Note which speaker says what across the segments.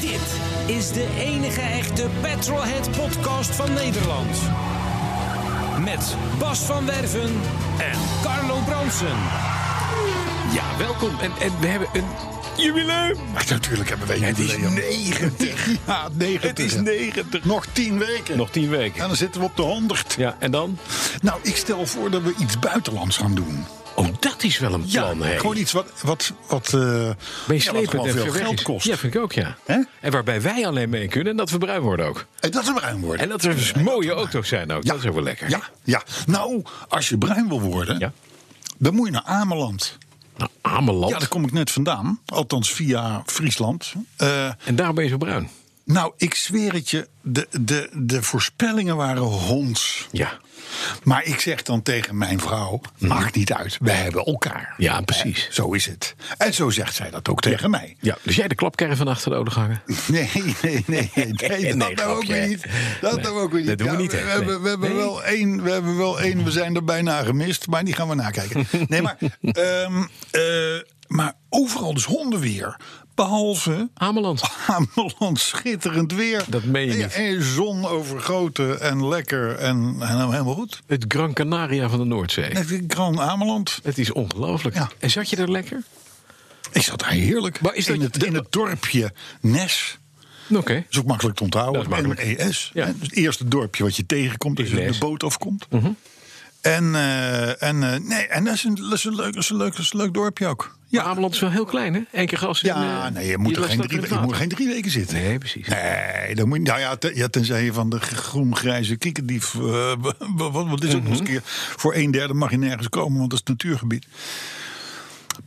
Speaker 1: Dit is de enige echte Petrolhead podcast van Nederland. Met Bas van Werven en Carlo Bronsen.
Speaker 2: Ja, welkom. En, en we hebben een jubileum.
Speaker 3: Maar natuurlijk hebben we
Speaker 2: Het is 90.
Speaker 3: Ja, 90.
Speaker 2: Het is 90.
Speaker 3: Nog 10 weken.
Speaker 2: Nog 10
Speaker 3: En
Speaker 2: weken.
Speaker 3: dan zitten we op de 100.
Speaker 2: Ja, en dan?
Speaker 3: Nou, ik stel voor dat we iets buitenlands gaan doen.
Speaker 2: Oh, dat is wel een plan, hè?
Speaker 3: gewoon iets wat, wat, wat, eh, ja, wat
Speaker 2: Meeslepend
Speaker 3: gewoon
Speaker 2: en
Speaker 3: veel
Speaker 2: verwerkt
Speaker 3: geld
Speaker 2: is.
Speaker 3: kost.
Speaker 2: Ja, vind ik ook, ja.
Speaker 3: Hè?
Speaker 2: En waarbij wij alleen mee kunnen en dat we bruin worden ook.
Speaker 3: En dat is bruin worden.
Speaker 2: En dat er dus mooie auto's zijn ook. Dat is ook wel lekker.
Speaker 3: Ja, ja, nou, als je bruin wil worden,
Speaker 2: Ja.
Speaker 3: dan moet je naar Ameland.
Speaker 2: Nou, Ameland.
Speaker 3: Ja, daar kom ik net vandaan. Althans via Friesland. Eh,
Speaker 2: En daar ben je zo bruin.
Speaker 3: nou, ik zweer het je, de, de, de voorspellingen waren honds.
Speaker 2: Ja.
Speaker 3: Maar ik zeg dan tegen mijn vrouw: maakt niet uit, we hebben elkaar.
Speaker 2: Ja, precies.
Speaker 3: Hè, Zo is het. En zo zegt zij dat ook tegen mij.
Speaker 2: Ja, dus jij de klapkerren van achter de odeganger?
Speaker 3: Nee, nee, nee, nee,
Speaker 2: Nee,
Speaker 3: dat nou ook
Speaker 2: grapje.
Speaker 3: weer niet. Dat
Speaker 2: Nee,
Speaker 3: nou ook weer niet.
Speaker 2: dat doen we niet
Speaker 3: We,
Speaker 2: echt, nee.
Speaker 3: hebben, we, hebben
Speaker 2: Nee.
Speaker 3: wel één, we hebben wel één, we zijn er bijna gemist, maar die gaan we nakijken. Nee, maar, ehm, eh, maar overal dus honden weer. Behalve
Speaker 2: Ameland.
Speaker 3: Ameland, schitterend weer.
Speaker 2: Dat meen je
Speaker 3: En-
Speaker 2: niet.
Speaker 3: En zon overgoten en lekker en, en helemaal goed.
Speaker 2: Het Gran Canaria van de Noordzee.
Speaker 3: Net weer Gran Ameland.
Speaker 2: Het is ongelooflijk.
Speaker 3: Ja.
Speaker 2: En zat je er lekker?
Speaker 3: Ik zat daar heerlijk.
Speaker 2: Maar is dat-
Speaker 3: in, het, in het dorpje Nes.
Speaker 2: Oké.
Speaker 3: Dat is ook makkelijk te onthouden.
Speaker 2: Dat is makkelijk.
Speaker 3: En ES.
Speaker 2: Ja.
Speaker 3: hè, dus het eerste dorpje wat je tegenkomt als je
Speaker 2: Nes. Mhm.
Speaker 3: de boot afkomt. En, eh, en, eh, nee, en dat is een, dat is een, leuk, dat is een, leuk, dat is een leuk dorpje ook.
Speaker 2: Ja, Ameland is wel heel klein, hè? Eén keer gas. in,
Speaker 3: Ja,
Speaker 2: eh,
Speaker 3: nee, je moet, er
Speaker 2: lust
Speaker 3: geen
Speaker 2: dat
Speaker 3: drie,
Speaker 2: in het
Speaker 3: je moet
Speaker 2: water.
Speaker 3: geen drie weken zitten.
Speaker 2: Nee, precies.
Speaker 3: Nee, dan moet je, nou ja, te- ja, tenzij je van de g- groen-grijze kiekendief. eh, wat, wat, wat is ook
Speaker 2: Mhm.
Speaker 3: nog eens een keer. Voor een derde mag je nergens komen, want dat is natuurgebied.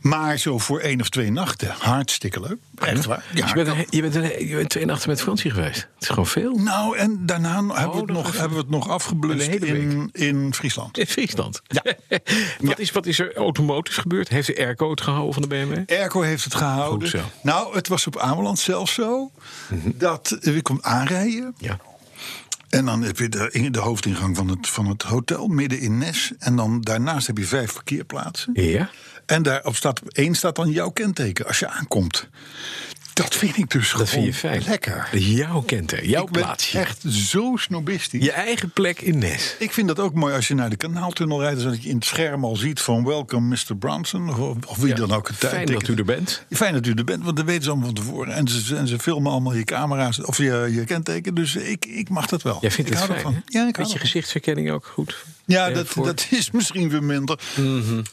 Speaker 3: Maar zo voor één of twee nachten. Hartstikke leuk. Echt waar.
Speaker 2: Dus je, bent een, je, bent een, je bent twee nachten met vakantie geweest. Het is gewoon veel.
Speaker 3: Nou, en daarna hebben, we het
Speaker 2: Oh, dat
Speaker 3: nog,
Speaker 2: was-
Speaker 3: hebben we het nog afgeblust
Speaker 2: Een hele
Speaker 3: in, in Friesland.
Speaker 2: In Friesland. wat, Is, wat is er automotisch gebeurd? Heeft de airco het gehouden van de BMW?
Speaker 3: Erco heeft het
Speaker 2: Goed
Speaker 3: gehouden.
Speaker 2: zo. Mhm.
Speaker 3: Nou, het was op Ameland zelfs zo. Dat eh, je komt aanrijden.
Speaker 2: Ja.
Speaker 3: En dan heb je de, in- de hoofdingang van het, van het hotel, midden in Nes. En dan daarnaast heb je vijf parkeerplaatsen.
Speaker 2: Ja?
Speaker 3: En daarop staat op één staat dan jouw kenteken als je aankomt. Dat vind ik dus
Speaker 2: Dat
Speaker 3: gewoon
Speaker 2: vind je fijn.
Speaker 3: lekker.
Speaker 2: Jouw kenteken, jouw
Speaker 3: ik ben
Speaker 2: plaatsje.
Speaker 3: echt zo snobistisch.
Speaker 2: Je eigen plek in Nes.
Speaker 3: Ik vind dat ook mooi als je naar de kanaaltunnel rijdt. zodat je in het scherm al ziet van welcome Mr. Bronson. Of, of wie
Speaker 2: Ja,
Speaker 3: dan ook. het
Speaker 2: fijn dat u er bent.
Speaker 3: Fijn dat u er bent, want dat weten ze allemaal van tevoren. En ze, en ze filmen allemaal je camera's of je, je kenteken. Dus ik, ik mag dat wel.
Speaker 2: Jij vindt
Speaker 3: ik
Speaker 2: het
Speaker 3: hou
Speaker 2: fijn,
Speaker 3: ervan.
Speaker 2: hè?
Speaker 3: Ja, ik hou
Speaker 2: Met je
Speaker 3: ervan.
Speaker 2: gezichtsherkenning ook goed.
Speaker 3: Ja,
Speaker 2: Eh,
Speaker 3: dat,
Speaker 2: voor- Mhm.
Speaker 3: dat is misschien weer minder.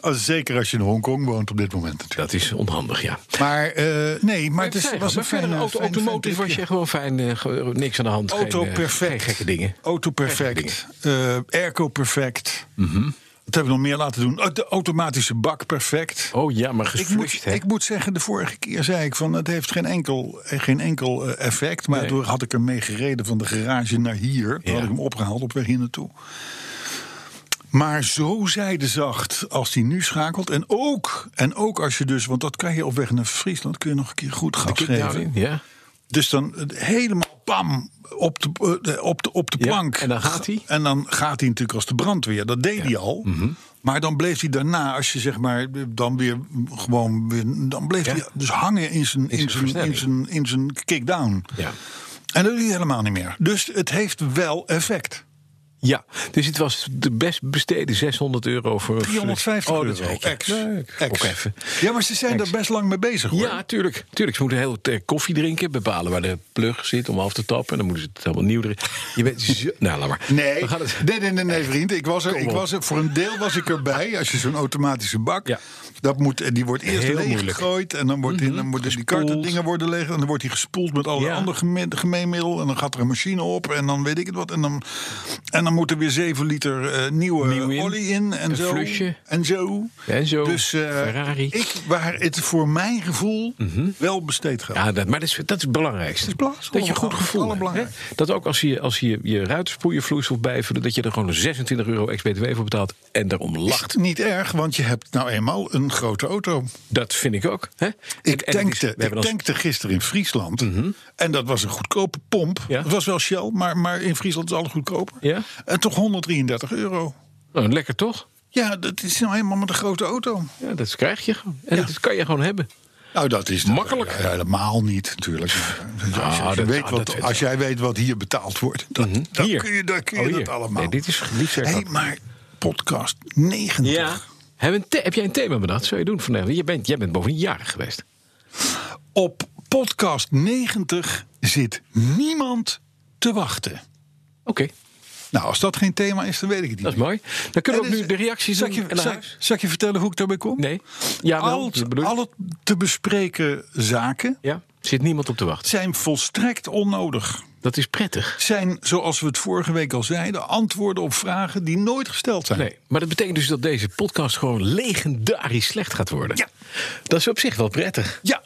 Speaker 3: Als, zeker als je in Hongkong woont op dit moment natuurlijk.
Speaker 2: dat is onhandig, ja.
Speaker 3: Maar eh, nee, maar het is,
Speaker 2: fijn,
Speaker 3: was
Speaker 2: maar
Speaker 3: een
Speaker 2: verder,
Speaker 3: fijne...
Speaker 2: auto,
Speaker 3: fijn- fijn
Speaker 2: automotive was
Speaker 3: tripje.
Speaker 2: je gewoon fijn, eh, ge- niks aan de hand.
Speaker 3: Auto
Speaker 2: geen, eh,
Speaker 3: perfect.
Speaker 2: geen gekke Mhm. dingen.
Speaker 3: Auto perfect. Eh, airco perfect. Wat hebben we nog meer laten doen? Oh, De automatische bak perfect.
Speaker 2: Oh ja, maar
Speaker 3: Ik
Speaker 2: geflushed,
Speaker 3: moet,
Speaker 2: hè?
Speaker 3: ik moet zeggen, de vorige keer zei ik van het heeft geen enkel, eh, geen enkel eh, effect. Maar
Speaker 2: Nee.
Speaker 3: toen had ik hem mee gereden van de garage naar hier. Toen
Speaker 2: Ja.
Speaker 3: had ik hem opgehaald op weg hier naartoe. Maar zo zijdezacht als hij nu schakelt. En ook, en ook als je dus, want dat kan je op weg naar Friesland, kun je nog een keer goed gas
Speaker 2: Kickdown
Speaker 3: geven.
Speaker 2: in, nou ja.
Speaker 3: Dus dan eh, helemaal bam op de, eh, de- op de, op de
Speaker 2: Ja,
Speaker 3: plank.
Speaker 2: en dan gaat hij? Mhm.
Speaker 3: En dan gaat hij natuurlijk als de brandweer. Dat deed hij al. Maar dan bleef hij daarna, als je zeg maar dan weer gewoon weer. Dan bleef
Speaker 2: Ja.
Speaker 3: hij dus hangen in zijn,
Speaker 2: zijn
Speaker 3: in zijn, in
Speaker 2: versnelling.
Speaker 3: zijn, in zijn kickdown.
Speaker 2: Ja.
Speaker 3: En dat doet hij helemaal niet meer. Dus het heeft wel effect.
Speaker 2: Ja, dus het was de best besteden 600 euro voor een
Speaker 3: 350
Speaker 2: oh, dat is
Speaker 3: euro.
Speaker 2: lekker.
Speaker 3: Ex.
Speaker 2: Leuk.
Speaker 3: Ex.
Speaker 2: Ook even.
Speaker 3: Ja, maar ze zijn
Speaker 2: Ex.
Speaker 3: daar best lang mee bezig hoor.
Speaker 2: Ja, tuurlijk. tuurlijk. Ze moeten heel eh, koffie drinken, bepalen waar de plug zit om af te tappen. En dan moeten ze het helemaal nieuw erin. Je bent zo... Nou, laat maar.
Speaker 3: Nee.
Speaker 2: We gaan het...
Speaker 3: nee, nee, nee, nee, vriend. Ik was er, ik
Speaker 2: op.
Speaker 3: was er, voor een deel was ik erbij. Als je zo'n automatische bak,
Speaker 2: Ja.
Speaker 3: dat moet, die wordt eerst
Speaker 2: Heel
Speaker 3: leeg
Speaker 2: moeilijk. Mhm.
Speaker 3: gegooid. En dan, wordt die- dan worden die karten dingen worden leeg. En dan wordt die gespoeld met alle
Speaker 2: Ja.
Speaker 3: andere geme- gemeenmiddel. En dan gaat er een machine op. En dan weet ik het wat. En dan, en dan moet er weer 7 liter eh, nieuwe
Speaker 2: Nieuw in.
Speaker 3: olie in. En
Speaker 2: Een
Speaker 3: zo.
Speaker 2: flusje.
Speaker 3: En zo.
Speaker 2: En zo.
Speaker 3: Dus eh,
Speaker 2: Ferrari. Mhm.
Speaker 3: ik, waar het voor mijn gevoel wel besteed gaat.
Speaker 2: Ja, dat, maar dat is, dat is het belangrijkste.
Speaker 3: Dat is belangrijk.
Speaker 2: Dat je een goed gevoel hebt. hè?
Speaker 3: Allerbelangrijk.
Speaker 2: Dat ook als je als je, je ruitenspoeiervloeistof bijvult, dat je er gewoon 26 euro ex-BTW voor betaalt en daarom
Speaker 3: Is
Speaker 2: lacht.
Speaker 3: het niet erg, want je hebt nou eenmaal een grote auto.
Speaker 2: Dat vind ik ook. Hè? En- en
Speaker 3: Ik
Speaker 2: het is- we
Speaker 3: tankte, ik
Speaker 2: hebben dan- Mhm.
Speaker 3: tankte gisteren in Friesland. En dat was een goedkope pomp.
Speaker 2: Ja.
Speaker 3: Het was wel Shell, maar, maar in Friesland is alles goedkoper.
Speaker 2: Ja.
Speaker 3: En toch 133 euro.
Speaker 2: Nou, lekker toch?
Speaker 3: Ja, dat is nou helemaal met een grote auto.
Speaker 2: Ja, dat krijg je gewoon. En dat kan je gewoon hebben.
Speaker 3: Nou, dat is
Speaker 2: Makkelijk.
Speaker 3: Ja, helemaal niet, natuurlijk. Maar als, je- als je
Speaker 2: dat-
Speaker 3: weet
Speaker 2: ah,
Speaker 3: wat,
Speaker 2: dat-
Speaker 3: als jij weet wat hier betaald wordt, dan, Mhm. dan kun je, dan kun je
Speaker 2: Oh,
Speaker 3: dat
Speaker 2: hier.
Speaker 3: allemaal.
Speaker 2: Nee, dit is liefst.
Speaker 3: hey, maar podcast 90.
Speaker 2: Heb, een the- heb jij een thema bedacht? Zou je doen vandaag? Je bent, jij bent bovendien jarig geweest.
Speaker 3: Op podcast 90 zit niemand te wachten.
Speaker 2: Oké,
Speaker 3: Nou, als dat geen thema is, dan weet ik het niet.
Speaker 2: dat is mooi. Dan kunnen we ook
Speaker 3: En
Speaker 2: nu
Speaker 3: dus-
Speaker 2: de reacties
Speaker 3: zal ik
Speaker 2: doen
Speaker 3: je-
Speaker 2: en naar
Speaker 3: zal-
Speaker 2: huis.
Speaker 3: zal ik je vertellen hoe ik daarbij kom?
Speaker 2: Nee. Ja, wel,
Speaker 3: al,
Speaker 2: dat bedoel ik.
Speaker 3: al het te bespreken zaken
Speaker 2: Ja, zit niemand op te wachten.
Speaker 3: zijn volstrekt onnodig.
Speaker 2: Dat is prettig.
Speaker 3: Zijn, zoals we het vorige week al zeiden, antwoorden op vragen die nooit gesteld zijn.
Speaker 2: Nee, maar dat betekent dus dat deze podcast gewoon legendarisch slecht gaat worden.
Speaker 3: Ja.
Speaker 2: Dat is op zich wel prettig.
Speaker 3: Ja.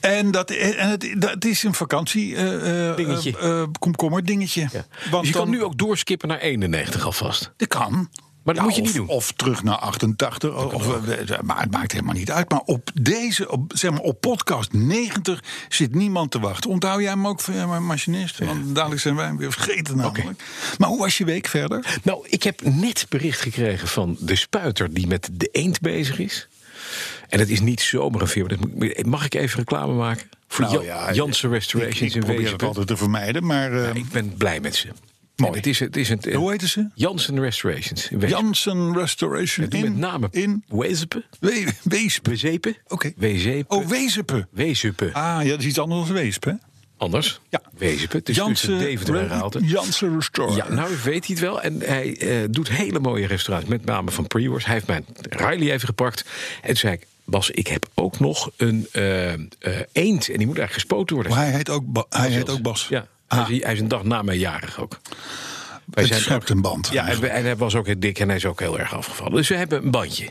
Speaker 3: En dat, en het, dat is een vakantie eh, eh,
Speaker 2: Dingetje.
Speaker 3: eh, eh, komkommer dingetje.
Speaker 2: Ja.
Speaker 3: Want
Speaker 2: dus je
Speaker 3: dan,
Speaker 2: kan nu ook doorskippen naar 91 alvast.
Speaker 3: Dat kan.
Speaker 2: Maar dat moet je
Speaker 3: of,
Speaker 2: niet doen.
Speaker 3: Of terug naar 88. Of, eh, maar het maakt helemaal niet uit. Maar op deze, op, zeg maar, op podcast 90 zit niemand te wachten. Onthoud jij hem ook van ja, mijn machinist? Want dadelijk zijn wij hem weer vergeten namelijk. Maar hoe was je week verder?
Speaker 2: Nou, ik heb net bericht gekregen van de spuiter die met de eend bezig is. En dat is niet zomaar een firma. Dat moet- Mag ik even reclame maken? Voor
Speaker 3: Nou
Speaker 2: Jan-
Speaker 3: ja,
Speaker 2: Janssen
Speaker 3: Ik,
Speaker 2: Restorations
Speaker 3: ik
Speaker 2: in
Speaker 3: probeer het
Speaker 2: Wezenpunt.
Speaker 3: altijd te vermijden. Maar eh,
Speaker 2: Ik ben blij met ze.
Speaker 3: Mooi.
Speaker 2: En Het is, het is een,
Speaker 3: hoe heette ze?
Speaker 2: Janssen Restorations in Wezenpunt.
Speaker 3: Janssen Restoration
Speaker 2: Doe
Speaker 3: in,
Speaker 2: met name
Speaker 3: in
Speaker 2: Wezepen.
Speaker 3: We- Weesp.
Speaker 2: Wezepen.
Speaker 3: Oké.
Speaker 2: Wezepen.
Speaker 3: Oh, Wezepen.
Speaker 2: Wezepen.
Speaker 3: Ah, ja, dat is iets anders dan Weesp, hè?
Speaker 2: Anders.
Speaker 3: Ja.
Speaker 2: Wezepen. Het is tussen Deventer en Raalte.
Speaker 3: Janssen Restore.
Speaker 2: Ja, nou weet hij het wel. En hij eh, doet hele mooie restaurants, met name van Priors. Hij heeft mijn Riley even gepakt. En toen zei ik, Bas, ik heb ook nog een eh, eh, eend. En die moet eigenlijk gespoten worden.
Speaker 3: Maar hij heet ook, Ba- hij heet ook Bas.
Speaker 2: Ja,
Speaker 3: Ah.
Speaker 2: hij, is, hij is een dag na mijn jarig ook. Wij
Speaker 3: Het
Speaker 2: zijn
Speaker 3: schept
Speaker 2: ook-
Speaker 3: een band.
Speaker 2: Ja, en, we- en hij was ook heel dik en hij is ook heel erg afgevallen. Dus we hebben een bandje.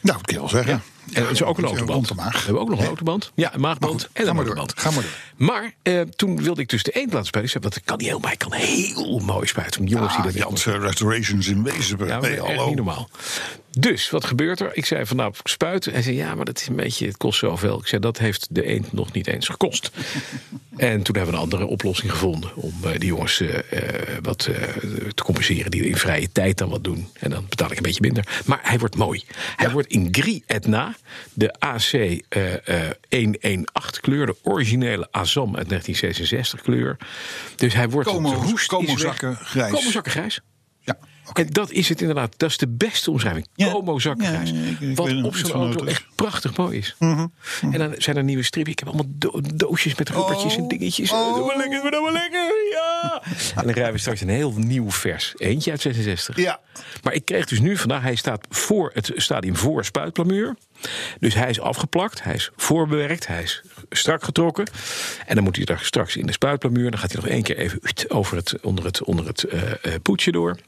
Speaker 3: Nou, dat kun je wel zeggen.
Speaker 2: En dat is ook een
Speaker 3: Ja,
Speaker 2: autoband.
Speaker 3: rond de
Speaker 2: We
Speaker 3: maag.
Speaker 2: hebben ook nog een autoband. Ja, een
Speaker 3: Maar
Speaker 2: maagband
Speaker 3: goed,
Speaker 2: en
Speaker 3: ga
Speaker 2: een
Speaker 3: maar door,
Speaker 2: autoband.
Speaker 3: ga maar
Speaker 2: Maar eh, toen wilde ik dus de eend laten spuiten. Ik zei, Want dat kan niet heel, maar hij kan heel mooi spuiten. Om jongens die
Speaker 3: Ah,
Speaker 2: dat niet
Speaker 3: Janssen Restorations in Wezenburg.
Speaker 2: Ja, maar
Speaker 3: nee,
Speaker 2: dat is echt
Speaker 3: hallo.
Speaker 2: niet normaal. Dus, wat gebeurt er? Ik zei van, nou, ik spuit. Hij zei, ja, maar dat is een beetje, het kost zoveel. Ik zei, dat heeft de eend nog niet eens gekost. en toen hebben we een andere oplossing gevonden... om eh, die jongens eh, eh, wat eh, te compenseren... die in vrije tijd dan wat doen. En dan betaal ik een beetje minder. Maar hij wordt mooi. Hij wordt in gris et na. De AC eh, eh, 118 kleur. De originele Azam uit 1966 kleur. Dus hij wordt...
Speaker 3: Como-
Speaker 2: de roest is
Speaker 3: Como
Speaker 2: weg.
Speaker 3: zakken grijs.
Speaker 2: Como zakken grijs.
Speaker 3: Ja.
Speaker 2: En dat is het inderdaad. Dat is de beste omschrijving.
Speaker 3: Ja.
Speaker 2: Como zakkenhuis.
Speaker 3: Ja, ja, ik- ik weet
Speaker 2: wat
Speaker 3: nog
Speaker 2: op
Speaker 3: iets
Speaker 2: zo'n
Speaker 3: van
Speaker 2: auto
Speaker 3: auto's.
Speaker 2: echt prachtig mooi is.
Speaker 3: Mhm.
Speaker 2: En dan zijn er nieuwe strippen. Ik heb allemaal do- doosjes
Speaker 3: Oh.
Speaker 2: met rubbertjes en dingetjes. Doe maar lekker, doe maar lekker. Ja. en dan rijden we straks een heel nieuw vers. Eentje uit 66.
Speaker 3: Ja.
Speaker 2: Maar ik kreeg dus nu vandaag, hij staat voor het stadium voor spuitplamuur. Dus hij is afgeplakt, hij is voorbewerkt, hij is strak getrokken. En dan moet hij daar straks in de spuitplamuur. Dan gaat hij nog één keer even uit over het, onder het, onder het eh, eh, poetje door.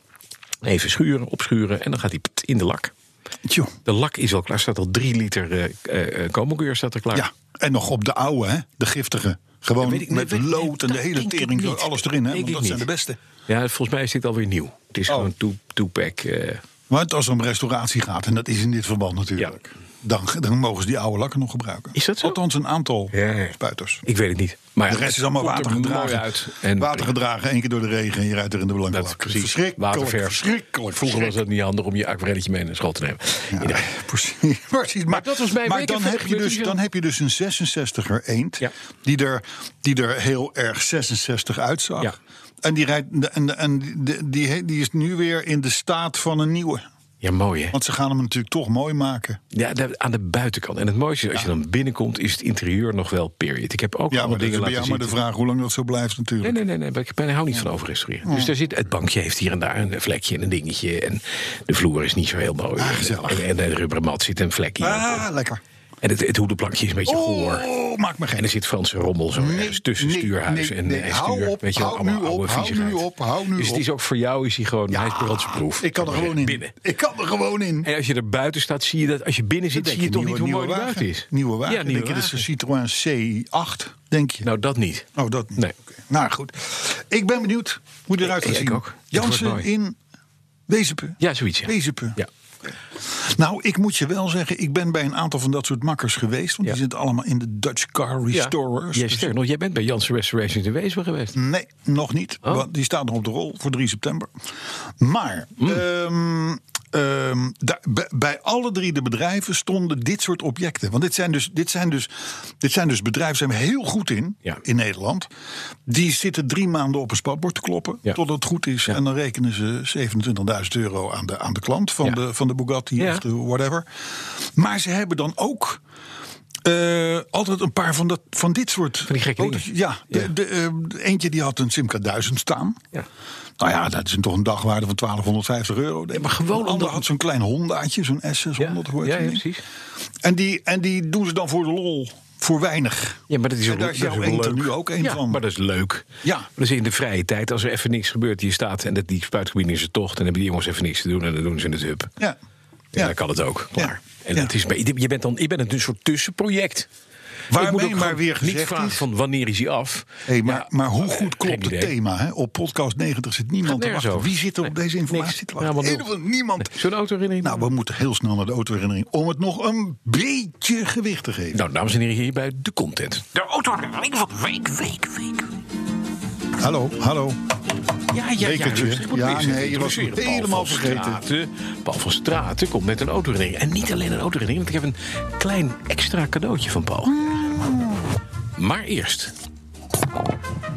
Speaker 2: Even schuren, opschuren en dan gaat hij pt in de lak.
Speaker 3: Tjoh.
Speaker 2: De lak is al klaar, staat al drie liter eh eh, eh, komokeur staat er klaar.
Speaker 3: ja. En nog op de oude, hè? De giftige. Gewoon
Speaker 2: weet ik-
Speaker 3: met
Speaker 2: weet ik-
Speaker 3: lood en de
Speaker 2: dat
Speaker 3: hele
Speaker 2: denk ik
Speaker 3: tering, zo,
Speaker 2: niet.
Speaker 3: alles erin, hè?
Speaker 2: Denk
Speaker 3: Want
Speaker 2: ik
Speaker 3: dat zijn de
Speaker 2: niet.
Speaker 3: beste.
Speaker 2: ja, volgens mij is dit alweer nieuw. Het is
Speaker 3: Oh.
Speaker 2: gewoon two- two-pack. eh,
Speaker 3: Want als het om restauratie gaat, en dat is in dit verband natuurlijk, dan, dan mogen ze die oude lakken nog gebruiken.
Speaker 2: Is dat zo?
Speaker 3: Althans, een aantal
Speaker 2: Ja, ja.
Speaker 3: spuiters.
Speaker 2: ik weet het niet. Maar ja,
Speaker 3: De rest
Speaker 2: het
Speaker 3: is allemaal
Speaker 2: komt er
Speaker 3: watergedragen.
Speaker 2: mooi uit. En
Speaker 3: watergedragen, één keer door de regen en je rijdt er in de
Speaker 2: Dat
Speaker 3: belangrijke.
Speaker 2: precies.
Speaker 3: Verschrikkelijk.
Speaker 2: Waterverf.
Speaker 3: Verschrikkelijk.
Speaker 2: Vroeger was dat niet handig om je aquarelletje mee naar school te nemen.
Speaker 3: Ja,
Speaker 2: Iedereen.
Speaker 3: precies. precies. Maar,
Speaker 2: dat was mijn
Speaker 3: maar
Speaker 2: week en
Speaker 3: dan,
Speaker 2: verder
Speaker 3: heb je
Speaker 2: gebeurt
Speaker 3: dus,
Speaker 2: er veel.
Speaker 3: dan heb je dus een 66er eend.
Speaker 2: Ja.
Speaker 3: Die, er, die er heel erg 66 uitzag.
Speaker 2: Ja.
Speaker 3: En die, rijdt, en, en die, die, die is nu weer in de staat van een nieuwe.
Speaker 2: Ja, mooi hè?
Speaker 3: Want ze gaan hem natuurlijk toch mooi maken.
Speaker 2: Ja, daar- aan de buitenkant. En het mooiste is, als je dan binnenkomt, is het interieur nog wel period. Ik heb ook
Speaker 3: Ja,
Speaker 2: allemaal
Speaker 3: maar dat is
Speaker 2: dingen
Speaker 3: bij
Speaker 2: laten zien.
Speaker 3: jou maar de vraag hoe lang dat zo blijft natuurlijk.
Speaker 2: Nee, nee, nee, nee. maar Ik ben, hou niet van overrestaureren. Dus daar zit, het bankje heeft hier en daar een vlekje en een dingetje. En de vloer is niet zo heel mooi. en,
Speaker 3: Ah, gezellig.
Speaker 2: en, en de rubberen mat zit een vlekje.
Speaker 3: Ah, lekker.
Speaker 2: En het, het hoedenplankje is een beetje goor.
Speaker 3: Oh, maak me
Speaker 2: En
Speaker 3: geen...
Speaker 2: er zit Franse rommel zo ergens tussen
Speaker 3: nee,
Speaker 2: stuurhuis
Speaker 3: nee,
Speaker 2: en,
Speaker 3: nee.
Speaker 2: en stuur.
Speaker 3: Hou op,
Speaker 2: Weet je wel,
Speaker 3: hou
Speaker 2: allemaal
Speaker 3: nu
Speaker 2: oude
Speaker 3: op, hou
Speaker 2: viezigheid.
Speaker 3: nu op, hou nu
Speaker 2: Dus het
Speaker 3: op.
Speaker 2: is ook voor jou is hij gewoon, hij is brandproef.
Speaker 3: Ik kan er gewoon in.
Speaker 2: Binnen.
Speaker 3: Ik kan er gewoon in.
Speaker 2: En als je er buiten staat, zie je dat. Als je binnen zit,
Speaker 3: Dan
Speaker 2: zie
Speaker 3: denk
Speaker 2: je toch
Speaker 3: nieuwe-
Speaker 2: niet hoe mooi
Speaker 3: nieuwe
Speaker 2: het
Speaker 3: wagen.
Speaker 2: buiten is.
Speaker 3: Nieuwe wagen.
Speaker 2: Ja,
Speaker 3: denk
Speaker 2: nieuwe
Speaker 3: je, dit
Speaker 2: wagen.
Speaker 3: is een Citroën C8, denk je?
Speaker 2: Nou, dat niet.
Speaker 3: oh, dat niet.
Speaker 2: Nee.
Speaker 3: Oké. Nou, goed. Ik ben benieuwd hoe die eruit
Speaker 2: Ik-
Speaker 3: gaat
Speaker 2: ik
Speaker 3: zien.
Speaker 2: ook. Het wordt
Speaker 3: Jansen
Speaker 2: mooi.
Speaker 3: in Wezepen.
Speaker 2: Ja, zoiets. Ja.
Speaker 3: Wezepen.
Speaker 2: Ja.
Speaker 3: Nou, ik moet je wel zeggen, ik ben bij een aantal van dat soort makkers geweest. Want
Speaker 2: Ja.
Speaker 3: die zitten allemaal in de Dutch Car Restorers.
Speaker 2: Jij,
Speaker 3: Dus-
Speaker 2: sterk nog, jij bent bij Janssen Restoration in Weesp geweest.
Speaker 3: Nee, nog niet.
Speaker 2: Oh.
Speaker 3: Want die staat nog op de rol voor 3 september. Maar
Speaker 2: Hmm.
Speaker 3: ehm, ehm, daar- bij- bij alle drie de bedrijven stonden dit soort objecten. Want dit zijn dus, dit zijn dus, dit zijn dus bedrijven, zijn we heel goed in,
Speaker 2: Ja.
Speaker 3: in Nederland. Die zitten drie maanden op een spatbord te kloppen,
Speaker 2: Ja.
Speaker 3: totdat het goed is. En dan rekenen ze 27.000 euro aan de, aan de klant van,
Speaker 2: Ja.
Speaker 3: de, van de Bugatti
Speaker 2: Ja.
Speaker 3: of de whatever. Maar ze hebben dan ook... eh, altijd een paar van, dat, van dit soort
Speaker 2: Van die gekke dingen.
Speaker 3: auto's. Ja, de,
Speaker 2: Ja.
Speaker 3: de, eh, eentje die had een Simca 1000 staan.
Speaker 2: Ja.
Speaker 3: Nou ja, dat is toch een dagwaarde van 1250 euro. denk ik.
Speaker 2: maar gewoon
Speaker 3: Een ander
Speaker 2: omdat-
Speaker 3: had zo'n klein Hondaatje, zo'n S600
Speaker 2: Ja,
Speaker 3: hoort
Speaker 2: ja, ja, precies.
Speaker 3: En die, en die doen ze dan voor de lol, voor weinig.
Speaker 2: Ja, maar dat is
Speaker 3: En
Speaker 2: ook,
Speaker 3: daar
Speaker 2: dat
Speaker 3: is
Speaker 2: is ook
Speaker 3: jouw eend er
Speaker 2: leuk.
Speaker 3: nu ook een
Speaker 2: ja,
Speaker 3: van.
Speaker 2: maar dat is leuk.
Speaker 3: Ja.
Speaker 2: Maar Dus in de vrije tijd, als er even niks gebeurt, je staat en dat die spuitgebied is een tocht, en dan hebben die jongens even niks te doen en dan doen ze het hub. En
Speaker 3: Ja. Ja.
Speaker 2: dan kan het ook. Klaar. En
Speaker 3: Ja.
Speaker 2: dat is, bij- je bent dan, je bent een dus soort tussenproject. Ik moet
Speaker 3: Waarmee
Speaker 2: ook
Speaker 3: maar
Speaker 2: gewoon
Speaker 3: weer
Speaker 2: niet
Speaker 3: gezegd
Speaker 2: vragen
Speaker 3: is-
Speaker 2: van wanneer is hij af.
Speaker 3: Hey, maar,
Speaker 2: Ja,
Speaker 3: maar hoe
Speaker 2: eh,
Speaker 3: goed
Speaker 2: geen
Speaker 3: klopt het
Speaker 2: idee.
Speaker 3: thema? Hè? Op podcast 90 zit niemand
Speaker 2: Gaat
Speaker 3: te
Speaker 2: nergens
Speaker 3: wachten.
Speaker 2: over.
Speaker 3: Wie zit er op
Speaker 2: Nee,
Speaker 3: deze
Speaker 2: niks.
Speaker 3: informatie te wachten?
Speaker 2: Helemaal nul.
Speaker 3: Helemaal niemand.
Speaker 2: Nee, zullen we autoherinnering
Speaker 3: Nou, we moeten heel snel naar de autoherinnering... om het nog een beetje gewicht te geven.
Speaker 2: Nou, dames en heren, hier bij de content.
Speaker 4: De auto van de week, week, week.
Speaker 3: Hallo, hallo.
Speaker 2: Ja, ja, ja.
Speaker 3: Bekertje.
Speaker 2: rustig, moet
Speaker 3: Ja,
Speaker 2: lezen.
Speaker 3: nee, je was
Speaker 2: Introduceren. Paul
Speaker 3: helemaal
Speaker 2: van
Speaker 3: vergeten.
Speaker 2: Straten. Paul van Straten komt met een autoherinnering. En niet alleen een autoherinnering, want ik heb een klein extra cadeautje van Paul.
Speaker 3: Mm.
Speaker 2: Maar eerst.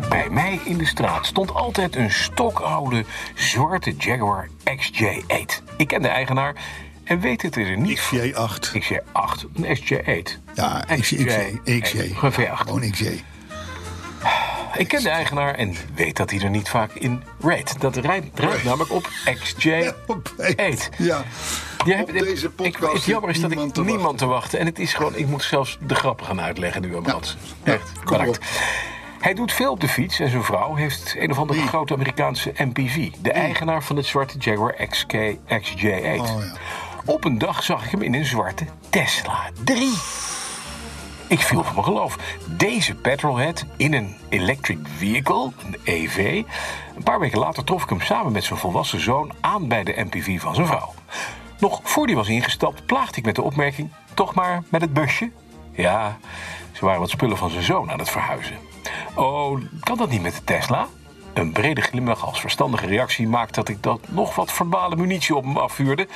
Speaker 2: Bij mij in de straat stond altijd een stokoude zwarte Jaguar XJ8. Ik ken de eigenaar en weet het er niet van.
Speaker 3: J8.
Speaker 2: XJ8, een XJ8.
Speaker 3: Ja, XJ. XJ.
Speaker 2: Een V8.
Speaker 3: Gewoon XJ.
Speaker 2: Ik ken de eigenaar en weet dat hij er niet vaak in rijdt. Dat rijdt, rijdt namelijk op XJ8.
Speaker 3: Ja.
Speaker 2: Jij
Speaker 3: Op
Speaker 2: hebt-
Speaker 3: deze podcast
Speaker 2: ik, het jammer is
Speaker 3: zit
Speaker 2: dat ik
Speaker 3: niemand
Speaker 2: niemand
Speaker 3: te
Speaker 2: te wachten. En het is gewoon, ik moet zelfs de grap gaan uitleggen nu aan Mats.
Speaker 3: ja,
Speaker 2: Echt,
Speaker 3: kom
Speaker 2: bedankt. Hij doet veel op de fiets en zijn vrouw heeft een of andere grote Amerikaanse MPV. De eigenaar van het zwarte Jaguar XK, XJ8.
Speaker 3: Oh, ja.
Speaker 2: Op een dag zag ik hem in een zwarte Tesla 3. Ik viel van mijn geloof. Deze petrolhead in een electric vehicle, een EV. Een paar weken later trof ik hem samen met zijn volwassen zoon aan bij de MPV van zijn vrouw. Nog voor die was ingestapt, plaagde ik met de opmerking: toch maar met het busje? Ja, ze waren wat spullen van zijn zoon aan het verhuizen. Oh, kan dat niet met de Tesla? Een brede glimlach als verstandige reactie maakt dat ik dat nog wat verbale munitie op hem afvuurde.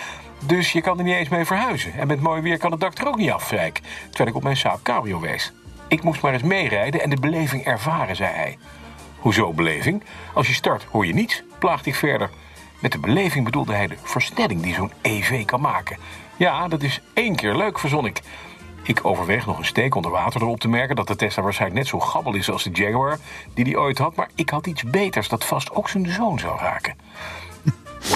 Speaker 2: Dus je kan er niet eens mee verhuizen. En met mooi weer kan het dak er ook niet af, zei ik, terwijl ik op mijn Saab Cabrio wees. Ik moest maar eens meerijden en de beleving ervaren, zei hij. Hoezo beleving? Als je start hoor je niets, plaagde ik verder. Met de beleving bedoelde hij de versnelling die zo'n EV kan maken. Ja, dat is één keer leuk, verzon ik. Ik overweeg nog een steek onder water erop te merken dat de Tesla waarschijnlijk net zo gabbel is als de Jaguar die die ooit had, maar ik had iets beters dat vast ook zijn zoon zou raken.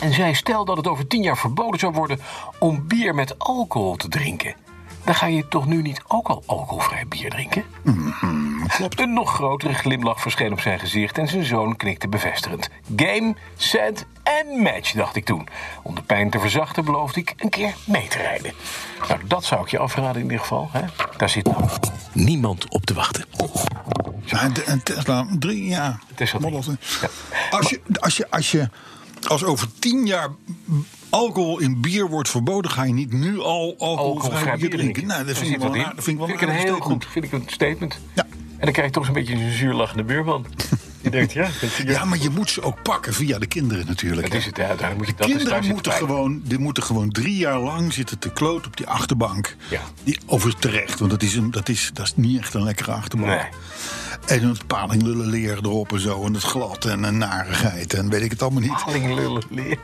Speaker 2: En zij stel dat het over tien jaar verboden zou worden om bier met alcohol te drinken. Dan ga je toch nu niet ook al alcoholvrij bier drinken? Een nog grotere glimlach verscheen op zijn gezicht en zijn zoon knikte bevestigend. Game, set en match, dacht ik toen. Om de pijn te verzachten beloofde ik een keer mee te rijden. Nou, dat zou ik je afraden in ieder geval. Hè? Daar zit nou niemand op te wachten.
Speaker 3: Oh, Ja, de- een Tesla 3, ja.
Speaker 2: Tesla drie.
Speaker 3: Model 3.
Speaker 2: Ja.
Speaker 3: Als, je, als, je, als je als over tien jaar alcohol in bier wordt verboden, ga je niet nu al alcoholvrij oh, bier drinken. Nou, dat vind ik wel een
Speaker 2: in.
Speaker 3: aard- dat vind ik wel
Speaker 2: Vind ik een
Speaker 3: aardig
Speaker 2: heel
Speaker 3: statement.
Speaker 2: goed vind ik een statement.
Speaker 3: Ja.
Speaker 2: En dan krijg je toch een beetje een zuurlachende buurman.
Speaker 5: je denkt, ja, weet je,
Speaker 3: Ja, maar je moet ze ook pakken via de kinderen natuurlijk.
Speaker 5: dat
Speaker 3: hè.
Speaker 5: is het. Ja, daar moet je, dat is, daar
Speaker 3: Kinderen
Speaker 5: zit
Speaker 3: moeten
Speaker 5: het bij.
Speaker 3: gewoon, die moeten gewoon drie jaar lang zitten te kloot op die achterbank.
Speaker 5: Ja.
Speaker 3: Die, overigens terecht, want dat is, een, dat, is, dat is niet echt een lekkere achterbank.
Speaker 5: Nee.
Speaker 3: En het palinglullen leer erop en zo. En het glad en een narigheid en weet ik het allemaal niet.
Speaker 5: Palinglullen leren.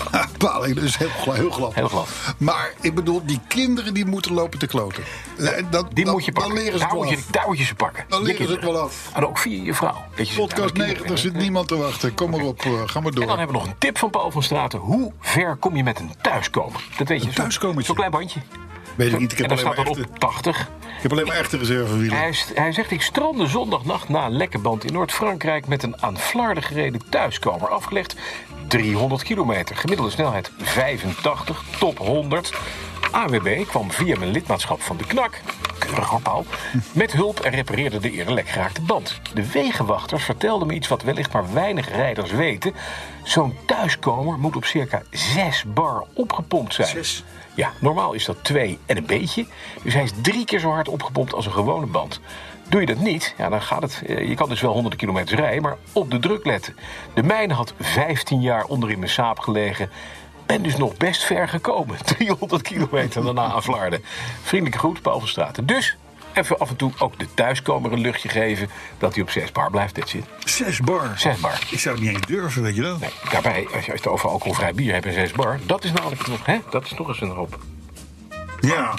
Speaker 3: Paling, dat is heel, gla- heel glad.
Speaker 5: Ah. Heel glad.
Speaker 3: Maar ik bedoel, die kinderen die moeten lopen te kloten. Eh, Dat,
Speaker 5: Die
Speaker 3: dat-
Speaker 5: moet je pakken.
Speaker 3: Dan leren ze
Speaker 5: daar,
Speaker 3: het wel
Speaker 5: moet je,
Speaker 3: af.
Speaker 5: daar moet je ze pakken.
Speaker 3: Dan
Speaker 5: Je
Speaker 3: leren ze het
Speaker 5: kinderen.
Speaker 3: wel af.
Speaker 5: En ook via je vrouw. Dat je ze-
Speaker 3: Podcast
Speaker 5: ja, maar kinderen
Speaker 3: 90 zit
Speaker 5: vinden.
Speaker 3: niemand te wachten. Kom maar op, eh, ga maar
Speaker 5: En dan
Speaker 3: door.
Speaker 5: hebben we nog een tip van Paul van Straten. Hoe ver kom je met een thuiskomer? Dat weet je. zo'n-
Speaker 3: thuiskomertje?
Speaker 5: Zo'n klein bandje.
Speaker 3: Weet ik niet, ik
Speaker 5: en
Speaker 3: heb,
Speaker 5: dan
Speaker 3: alleen
Speaker 5: staat
Speaker 3: maar
Speaker 5: dat op
Speaker 3: echte,
Speaker 5: 80.
Speaker 3: ik heb alleen maar echte reservewielen.
Speaker 5: Hij, st- hij zegt, ik stroomde zondagnacht na een lekke band in Noord-Frankrijk... met een aan Vlaarden gereden thuiskomer afgelegd. 300 kilometer, gemiddelde snelheid 85, top 100. AWB kwam via mijn lidmaatschap van de KNAK, keurig hoor Paul... met hulp en repareerde de eerder lek geraakte band. De wegenwachters vertelden me iets wat wellicht maar weinig rijders weten. Zo'n thuiskomer moet op circa 6 bar opgepompt zijn.
Speaker 3: Zes?
Speaker 5: Ja, normaal is dat 2 en een beetje. Dus hij is drie keer zo hard opgepompt als een gewone band. Doe je dat niet, ja, dan gaat het. eh, Je kan dus wel honderden kilometers rijden, maar op de druk letten. De mijne had 15 jaar onderin mijn saap gelegen. Ben dus nog best ver gekomen. 300 kilometer daarna aan Vlaarden. Vriendelijke groet, Paul van Straten. Dus even af en toe ook de thuiskomer een luchtje geven. Dat hij op 6 bar blijft, dat zit.
Speaker 3: Zes bar.
Speaker 5: 6 bar.
Speaker 3: Ik zou het niet eens durven, weet je dat?
Speaker 5: Nee, daarbij, als je als je het over alcoholvrij bier hebt en 6 bar, dat is namelijk nog, hè? Dat is nog eens een hoop.
Speaker 3: Ja,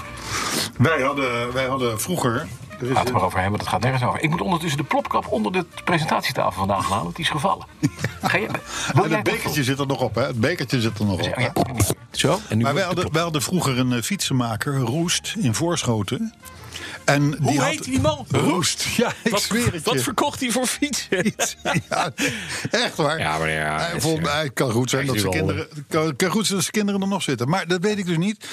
Speaker 3: wij hadden, wij hadden vroeger. er is-
Speaker 5: Laten we maar over hebben, dat gaat nergens over. Ik moet ondertussen de plopkap onder de presentatietafel vandaan halen, want die is gevallen. Ga je, wil
Speaker 3: en
Speaker 5: jij
Speaker 3: het
Speaker 5: dat
Speaker 3: bekertje zit er nog op, hè? Het bekertje zit er nog op.
Speaker 5: doen?
Speaker 3: hè?
Speaker 5: Ja, ja.
Speaker 2: Zo, en nu
Speaker 3: Maar
Speaker 2: wordt
Speaker 3: wij
Speaker 2: de
Speaker 3: hadden, wij hadden vroeger een eh, fietsenmaker, Roest, in Voorschoten. En die
Speaker 2: Hoe
Speaker 3: had-
Speaker 2: heet die man?
Speaker 3: Roest, ja, ik
Speaker 2: wat,
Speaker 3: zweer het
Speaker 2: wat
Speaker 3: je.
Speaker 2: verkocht hij voor fietsen?
Speaker 3: Ja, echt waar.
Speaker 2: Ja, maar ja,
Speaker 3: Hij,
Speaker 2: het-
Speaker 3: vond, hij kan goed zijn
Speaker 2: hij
Speaker 3: dat
Speaker 2: is
Speaker 3: zijn
Speaker 2: nu al-
Speaker 3: kinderen, kan, kan goed zijn dat zijn kinderen er nog zitten. Maar dat weet ik dus niet.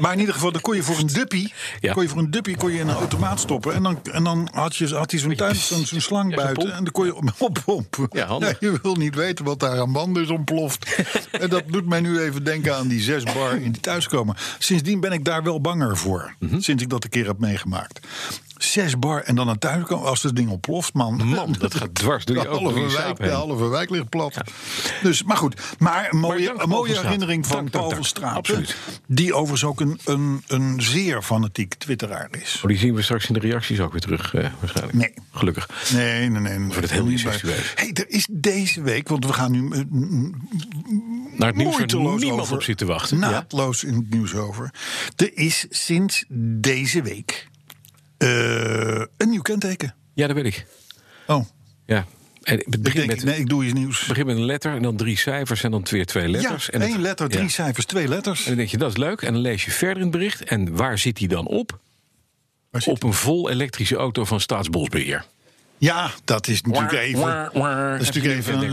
Speaker 3: Maar in ieder geval, dan kon je voor een duppie,
Speaker 2: Ja.
Speaker 3: kon je voor een duppie kon je in een automaat stoppen. En dan, en dan had, je, had hij zo'n tuin, zo'n zo'n slang
Speaker 2: Ja, zo'n
Speaker 3: buiten.
Speaker 2: pomp.
Speaker 3: En dan kon je op- oppompen.
Speaker 2: Ja, handig.
Speaker 3: je wil niet weten wat daar aan banden is ontploft. en dat doet mij nu even denken aan die zes bar in die thuiskomen. Sindsdien ben ik daar wel banger voor.
Speaker 2: Mhm.
Speaker 3: Sinds ik dat een keer heb meegemaakt. Zes bar en dan een thuiskomen. Als dat ding ontploft, man.
Speaker 2: Man, dat gaat dwars door je
Speaker 3: De
Speaker 2: ook
Speaker 3: halve,
Speaker 2: door je
Speaker 3: wijk,
Speaker 2: saap
Speaker 3: de
Speaker 2: heen.
Speaker 3: halve wijk ligt plat. Dus, maar goed, maar een mooie,
Speaker 2: dank Paul
Speaker 3: een
Speaker 2: van
Speaker 3: mooie
Speaker 2: Straat.
Speaker 3: herinnering van
Speaker 2: Dank, dank,
Speaker 3: Paul van
Speaker 2: dank.
Speaker 3: Straat.
Speaker 2: Absoluut.
Speaker 3: Die overigens ook een, een, een zeer fanatiek twitteraar is.
Speaker 2: Oh, die zien we straks in de reacties ook weer terug, eh, waarschijnlijk.
Speaker 3: Nee.
Speaker 2: Gelukkig.
Speaker 3: Nee, nee, nee. nee
Speaker 2: Wordt het heel incestueus.
Speaker 3: Hey, er is deze week, want we gaan nu eh, n-
Speaker 2: Naar het nieuws waar
Speaker 3: moeiteloos
Speaker 2: niemand
Speaker 3: over, Nou.
Speaker 2: op zit te wachten. Ja.
Speaker 3: Naadloos in het nieuws over. Er is sinds deze week eh, een nieuw kenteken.
Speaker 2: ja, dat weet ik.
Speaker 3: Oh,
Speaker 2: Ja. En het
Speaker 3: ik
Speaker 2: begint
Speaker 3: denk,
Speaker 2: met,
Speaker 3: nee, ik doe iets nieuws.
Speaker 2: begint met een letter en dan drie cijfers en dan weer twee letters.
Speaker 3: ja,
Speaker 2: en het-
Speaker 3: één letter, drie
Speaker 2: ja.
Speaker 3: cijfers, twee letters.
Speaker 2: En dan denk je, dat is leuk. En dan lees je verder in het bericht. En waar zit hij dan op?
Speaker 3: Waar zit
Speaker 2: Op een vol elektrische auto van Staatsbosbeheer.
Speaker 3: Ja, dat is natuurlijk even,
Speaker 2: Dat
Speaker 3: is natuurlijk even een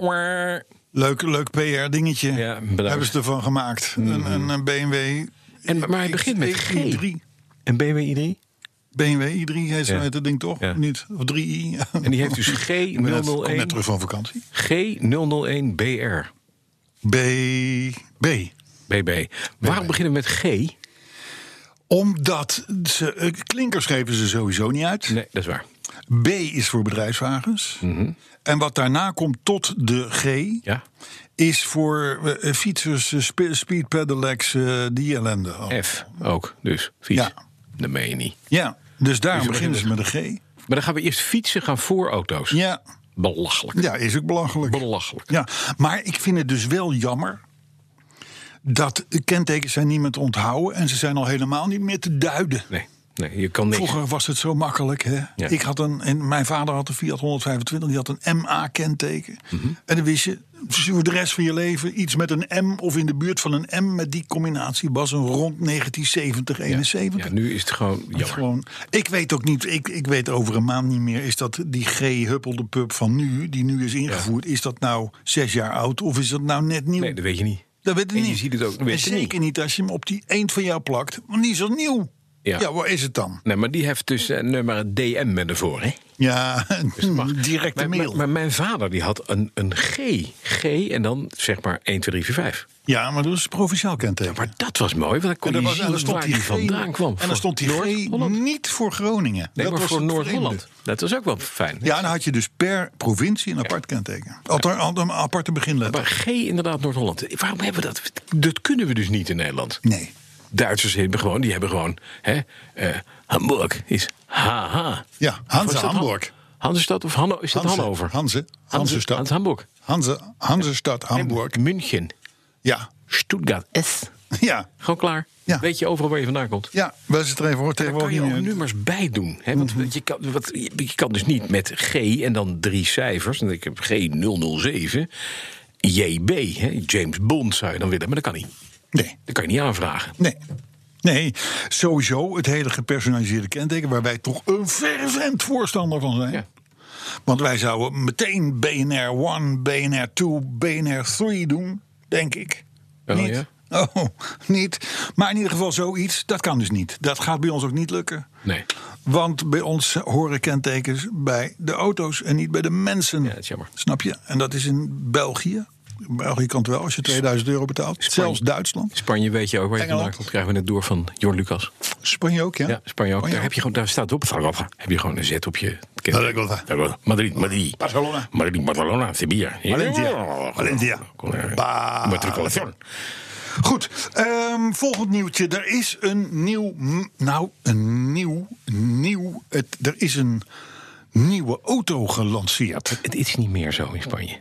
Speaker 3: leuk- leuk, leuk PR-dingetje.
Speaker 2: Ja, bedankt.
Speaker 3: Hebben ze ervan gemaakt. Een, een, een BMW.
Speaker 2: En, maar hij
Speaker 3: X-
Speaker 2: begint met G.
Speaker 3: i3.
Speaker 2: Een BMW i3?
Speaker 3: BMW i3 heet zo
Speaker 2: Ja.
Speaker 3: heet dat ding toch?
Speaker 2: Ja.
Speaker 3: Niet? Of 3i.
Speaker 2: En die heeft dus G001.
Speaker 3: Ik ben net- kom net terug van vakantie.
Speaker 2: G001BR.
Speaker 3: B. B.
Speaker 2: BB. Waarom beginnen we met G? Nee,
Speaker 3: Omdat ze, eh, klinkers geven ze sowieso niet uit.
Speaker 2: dat is waar.
Speaker 3: B is voor bedrijfswagens. En wat daarna komt tot de G.
Speaker 2: Mhm. Ja.
Speaker 3: Is voor eh, eh, fietsers, eh, spe- speed pedelecs, eh, die ellende. allemaal.
Speaker 2: F ook, dus fiets.
Speaker 3: Ja.
Speaker 2: Dat meen je niet.
Speaker 3: Ja, dus daarom
Speaker 2: Dus je
Speaker 3: beginnen ze met een G.
Speaker 2: Maar dan gaan we eerst fietsen gaan voor auto's.
Speaker 3: Ja,
Speaker 2: Belachelijk.
Speaker 3: ja is ook belachelijk.
Speaker 2: Belachelijk.
Speaker 3: Ja, maar ik vind het dus wel jammer dat kentekens zijn niet meer te onthouden en ze zijn al helemaal niet meer te duiden.
Speaker 2: Nee, nee, je kan niks.
Speaker 3: Vroeger was het zo makkelijk. Hè?
Speaker 2: Ja.
Speaker 3: Ik had een, en mijn vader had een Fiat 125, die had een MA-kenteken.
Speaker 2: Mhm.
Speaker 3: En dan wist je voor de rest van je leven iets met een M of in de buurt van een M met die combinatie was een rond 1970, 71.
Speaker 2: Ja, nu is het gewoon
Speaker 3: Dat is
Speaker 2: jammer.
Speaker 3: Gewoon, ik weet ook niet, ik, ik weet over een maand niet meer, is dat die G-huppel de pub van nu, die nu is ingevoerd, is dat nou zes jaar oud of is dat nou net nieuw?
Speaker 2: Nee, dat weet je niet.
Speaker 3: dat weet ik
Speaker 2: en je
Speaker 3: niet.
Speaker 2: ziet het ook, dat weet
Speaker 3: en
Speaker 2: je
Speaker 3: zeker niet. als je hem op die eend van jou plakt, want die is al nieuw.
Speaker 2: Ja.
Speaker 3: Ja, waar is het dan?
Speaker 2: Nee, maar die heeft dus eh, nummer DM met ervoor, hè?
Speaker 3: Ja, Hmm,
Speaker 2: Maar,
Speaker 3: directe mail.
Speaker 2: maar, maar mijn vader die had een, een G. G en dan zeg maar 1, 2, 3, 4, 5.
Speaker 3: ja, maar dat is provinciaal kenteken.
Speaker 2: Maar dat was mooi, want dan kon
Speaker 3: en er
Speaker 2: je
Speaker 3: was, en
Speaker 2: zien
Speaker 3: er stond
Speaker 2: waar
Speaker 3: die
Speaker 2: die
Speaker 3: G,
Speaker 2: vandaan kwam.
Speaker 3: En dan stond die G
Speaker 2: Noord-Holland.
Speaker 3: niet voor Groningen.
Speaker 2: Nee,
Speaker 3: dat
Speaker 2: maar
Speaker 3: was
Speaker 2: voor
Speaker 3: het
Speaker 2: Noord-Holland.
Speaker 3: vreemde.
Speaker 2: Dat was ook wel fijn.
Speaker 3: Ja, en dan had je dus per provincie een apart kenteken. Althans, een aparte
Speaker 2: Maar
Speaker 3: beginletter.
Speaker 2: G inderdaad Noord-Holland. Waarom hebben we dat? Dat kunnen we dus niet in Nederland.
Speaker 3: Nee.
Speaker 2: Duitsers hebben gewoon, die hebben gewoon... Hè, eh, Hamburg is HH.
Speaker 3: Ja,
Speaker 2: Of
Speaker 3: Hanze
Speaker 2: is dat Han-
Speaker 3: Hamburg.
Speaker 2: Hansestad of Hanno, is dat
Speaker 3: Hanze,
Speaker 2: Hannover?
Speaker 3: Hanze, Hansestad.
Speaker 2: Hans Hamburg.
Speaker 3: Hanze, Hansestad Hamburg.
Speaker 2: München.
Speaker 3: Ja,
Speaker 2: Stuttgart. S.
Speaker 3: ja,
Speaker 2: Gewoon klaar.
Speaker 3: Ja.
Speaker 2: Weet je overal waar je vandaan komt.
Speaker 3: ja. Dat is het tegenwoordig.
Speaker 2: Daar kan je ook
Speaker 3: tegenwoordig niet meer.
Speaker 2: nummers bij doen. Hè? Want je, kan, wat, je, je kan dus niet met G en dan drie cijfers. Dan denk ik G007. JB, hè? James Bond zou je dan willen. Maar dat kan niet.
Speaker 3: Nee.
Speaker 2: Dat kan je niet aanvragen.
Speaker 3: Nee. Nee, sowieso het hele gepersonaliseerde kenteken, waar wij toch een fervent voorstander van zijn.
Speaker 2: Ja.
Speaker 3: Want wij zouden meteen BNR 1, BNR 2, BNR 3 doen, denk ik.
Speaker 2: Oh,
Speaker 3: niet?
Speaker 2: ja?
Speaker 3: Oh, niet. Maar in ieder geval zoiets, dat kan dus niet. Dat gaat bij ons ook niet lukken.
Speaker 2: Nee,
Speaker 3: Want bij ons horen kentekens bij de auto's en niet bij de mensen. Ja,
Speaker 2: dat is jammer.
Speaker 3: Snap je? En dat is in België. In België kan het wel als je 2000 euro betaalt. Zelfs Duitsland.
Speaker 2: Spanje weet je ook waar je
Speaker 3: Engeland.
Speaker 2: vandaan komt. Krijgen we net door van Jorn Lucas.
Speaker 3: Spanje ook, ja?
Speaker 2: Ja, Spanje ook. Daar, heb je gewoon, daar staat op. Heb je gewoon een zet op je...
Speaker 3: Zaragoza.
Speaker 2: Madrid, Madrid.
Speaker 3: Barcelona.
Speaker 2: Madrid, Barcelona, Sevilla.
Speaker 3: Valencia. Valencia. Ba-
Speaker 2: Matriculación.
Speaker 3: Goed, ehm, volgend nieuwtje. Er is een nieuw. mm, Nou, een nieuw. Nieuw. Het, er is een nieuwe auto gelanceerd.
Speaker 2: Het is niet meer zo in Spanje.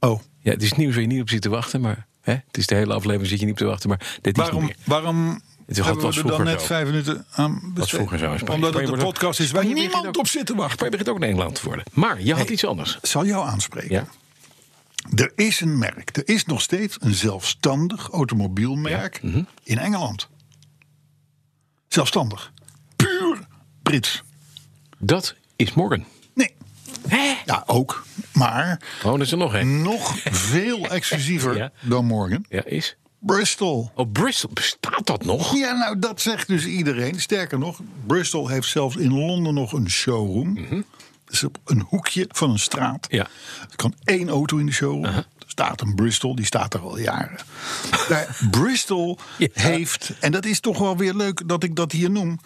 Speaker 3: Oh,
Speaker 2: Ja, het is nieuws waar je niet op zit te wachten, maar hè, het is de hele aflevering zit je niet op te wachten, maar dit is niet
Speaker 3: waarom,
Speaker 2: meer.
Speaker 3: waarom
Speaker 2: Het was
Speaker 3: hebben we er dan
Speaker 2: vroeger
Speaker 3: net
Speaker 2: zo.
Speaker 3: vijf minuten aan besteed?
Speaker 2: vroeger zo in Spanje.
Speaker 3: Omdat het
Speaker 2: Spanje wordt
Speaker 3: een
Speaker 2: ook-
Speaker 3: podcast is waar
Speaker 2: Spanje begint
Speaker 3: niemand
Speaker 2: ook-
Speaker 3: op zit te wachten.
Speaker 2: Spanje begint ook in Engeland te worden. Maar je had iets anders.
Speaker 3: Ik zal jou aanspreken.
Speaker 2: Ja.
Speaker 3: Er is een merk. Er is nog steeds een zelfstandig automobielmerk
Speaker 2: Mhm.
Speaker 3: in Engeland. Zelfstandig. Puur Brits.
Speaker 2: Dat is morgen.
Speaker 3: Nee. Ja, ook. Maar
Speaker 2: Oh, er is er nog één.
Speaker 3: nog veel exclusiever
Speaker 2: Ja.
Speaker 3: dan morgen.
Speaker 2: Ja, is.
Speaker 3: Bristol.
Speaker 2: Oh, Bristol. Bestaat dat nog?
Speaker 3: Ja, nou, dat zegt dus iedereen. Sterker nog, Bristol heeft zelfs in Londen nog een showroom. Dat is op een hoekje van een straat.
Speaker 2: Mhm. Ja.
Speaker 3: Er kan één auto in de showroom. Er staat een Bristol, die staat er al jaren. Daar, Bristol
Speaker 2: Ja.
Speaker 3: heeft, en dat is toch wel weer leuk dat ik dat hier noem.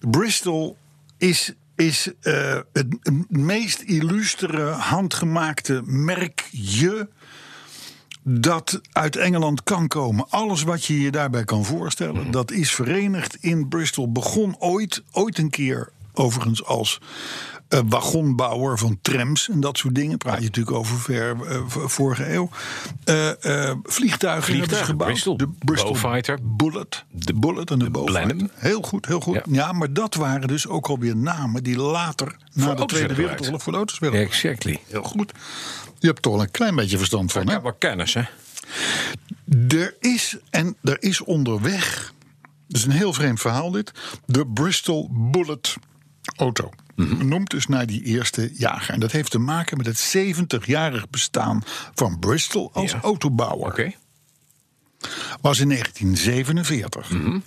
Speaker 3: Bristol is, is eh, het meest illustere handgemaakte merkje dat uit Engeland kan komen. Alles wat je je daarbij kan voorstellen,
Speaker 2: Mhm.
Speaker 3: dat is verenigd in Bristol. Begon ooit, ooit een keer overigens als eh, wagonbouwer van trams en dat soort dingen. Praat je natuurlijk over ver, eh, v- vorige eeuw. Eh, eh, vliegtuigen, hebben ze
Speaker 2: Vliegtuigen,
Speaker 3: gebouwd.
Speaker 2: Bristol,
Speaker 3: de Bristol
Speaker 2: Bowfighter.
Speaker 3: Bullet. De Bullet en de, Bowfighter.
Speaker 2: Blenheim.
Speaker 3: Heel goed, heel goed. Ja.
Speaker 2: Ja.
Speaker 3: maar dat waren dus ook alweer namen die later... na de
Speaker 2: auto's
Speaker 3: Tweede
Speaker 2: werden gebruikt.
Speaker 3: Wereldoorlog voor de auto's werden gebruikt.
Speaker 2: Exactly.
Speaker 3: Heel goed. Je hebt toch wel een klein beetje verstand van, hè?
Speaker 2: Ja, maar kennis, hè?
Speaker 3: Er is, en er is onderweg, dat is een heel vreemd verhaal dit, de Bristol Bullet auto.
Speaker 2: Mhm.
Speaker 3: Noemt dus naar die eerste jager. En dat heeft te maken met het 70-jarig bestaan van Bristol als
Speaker 2: Ja.
Speaker 3: autobouwer.
Speaker 2: Oké.
Speaker 3: Was in 1947.
Speaker 2: Mhm.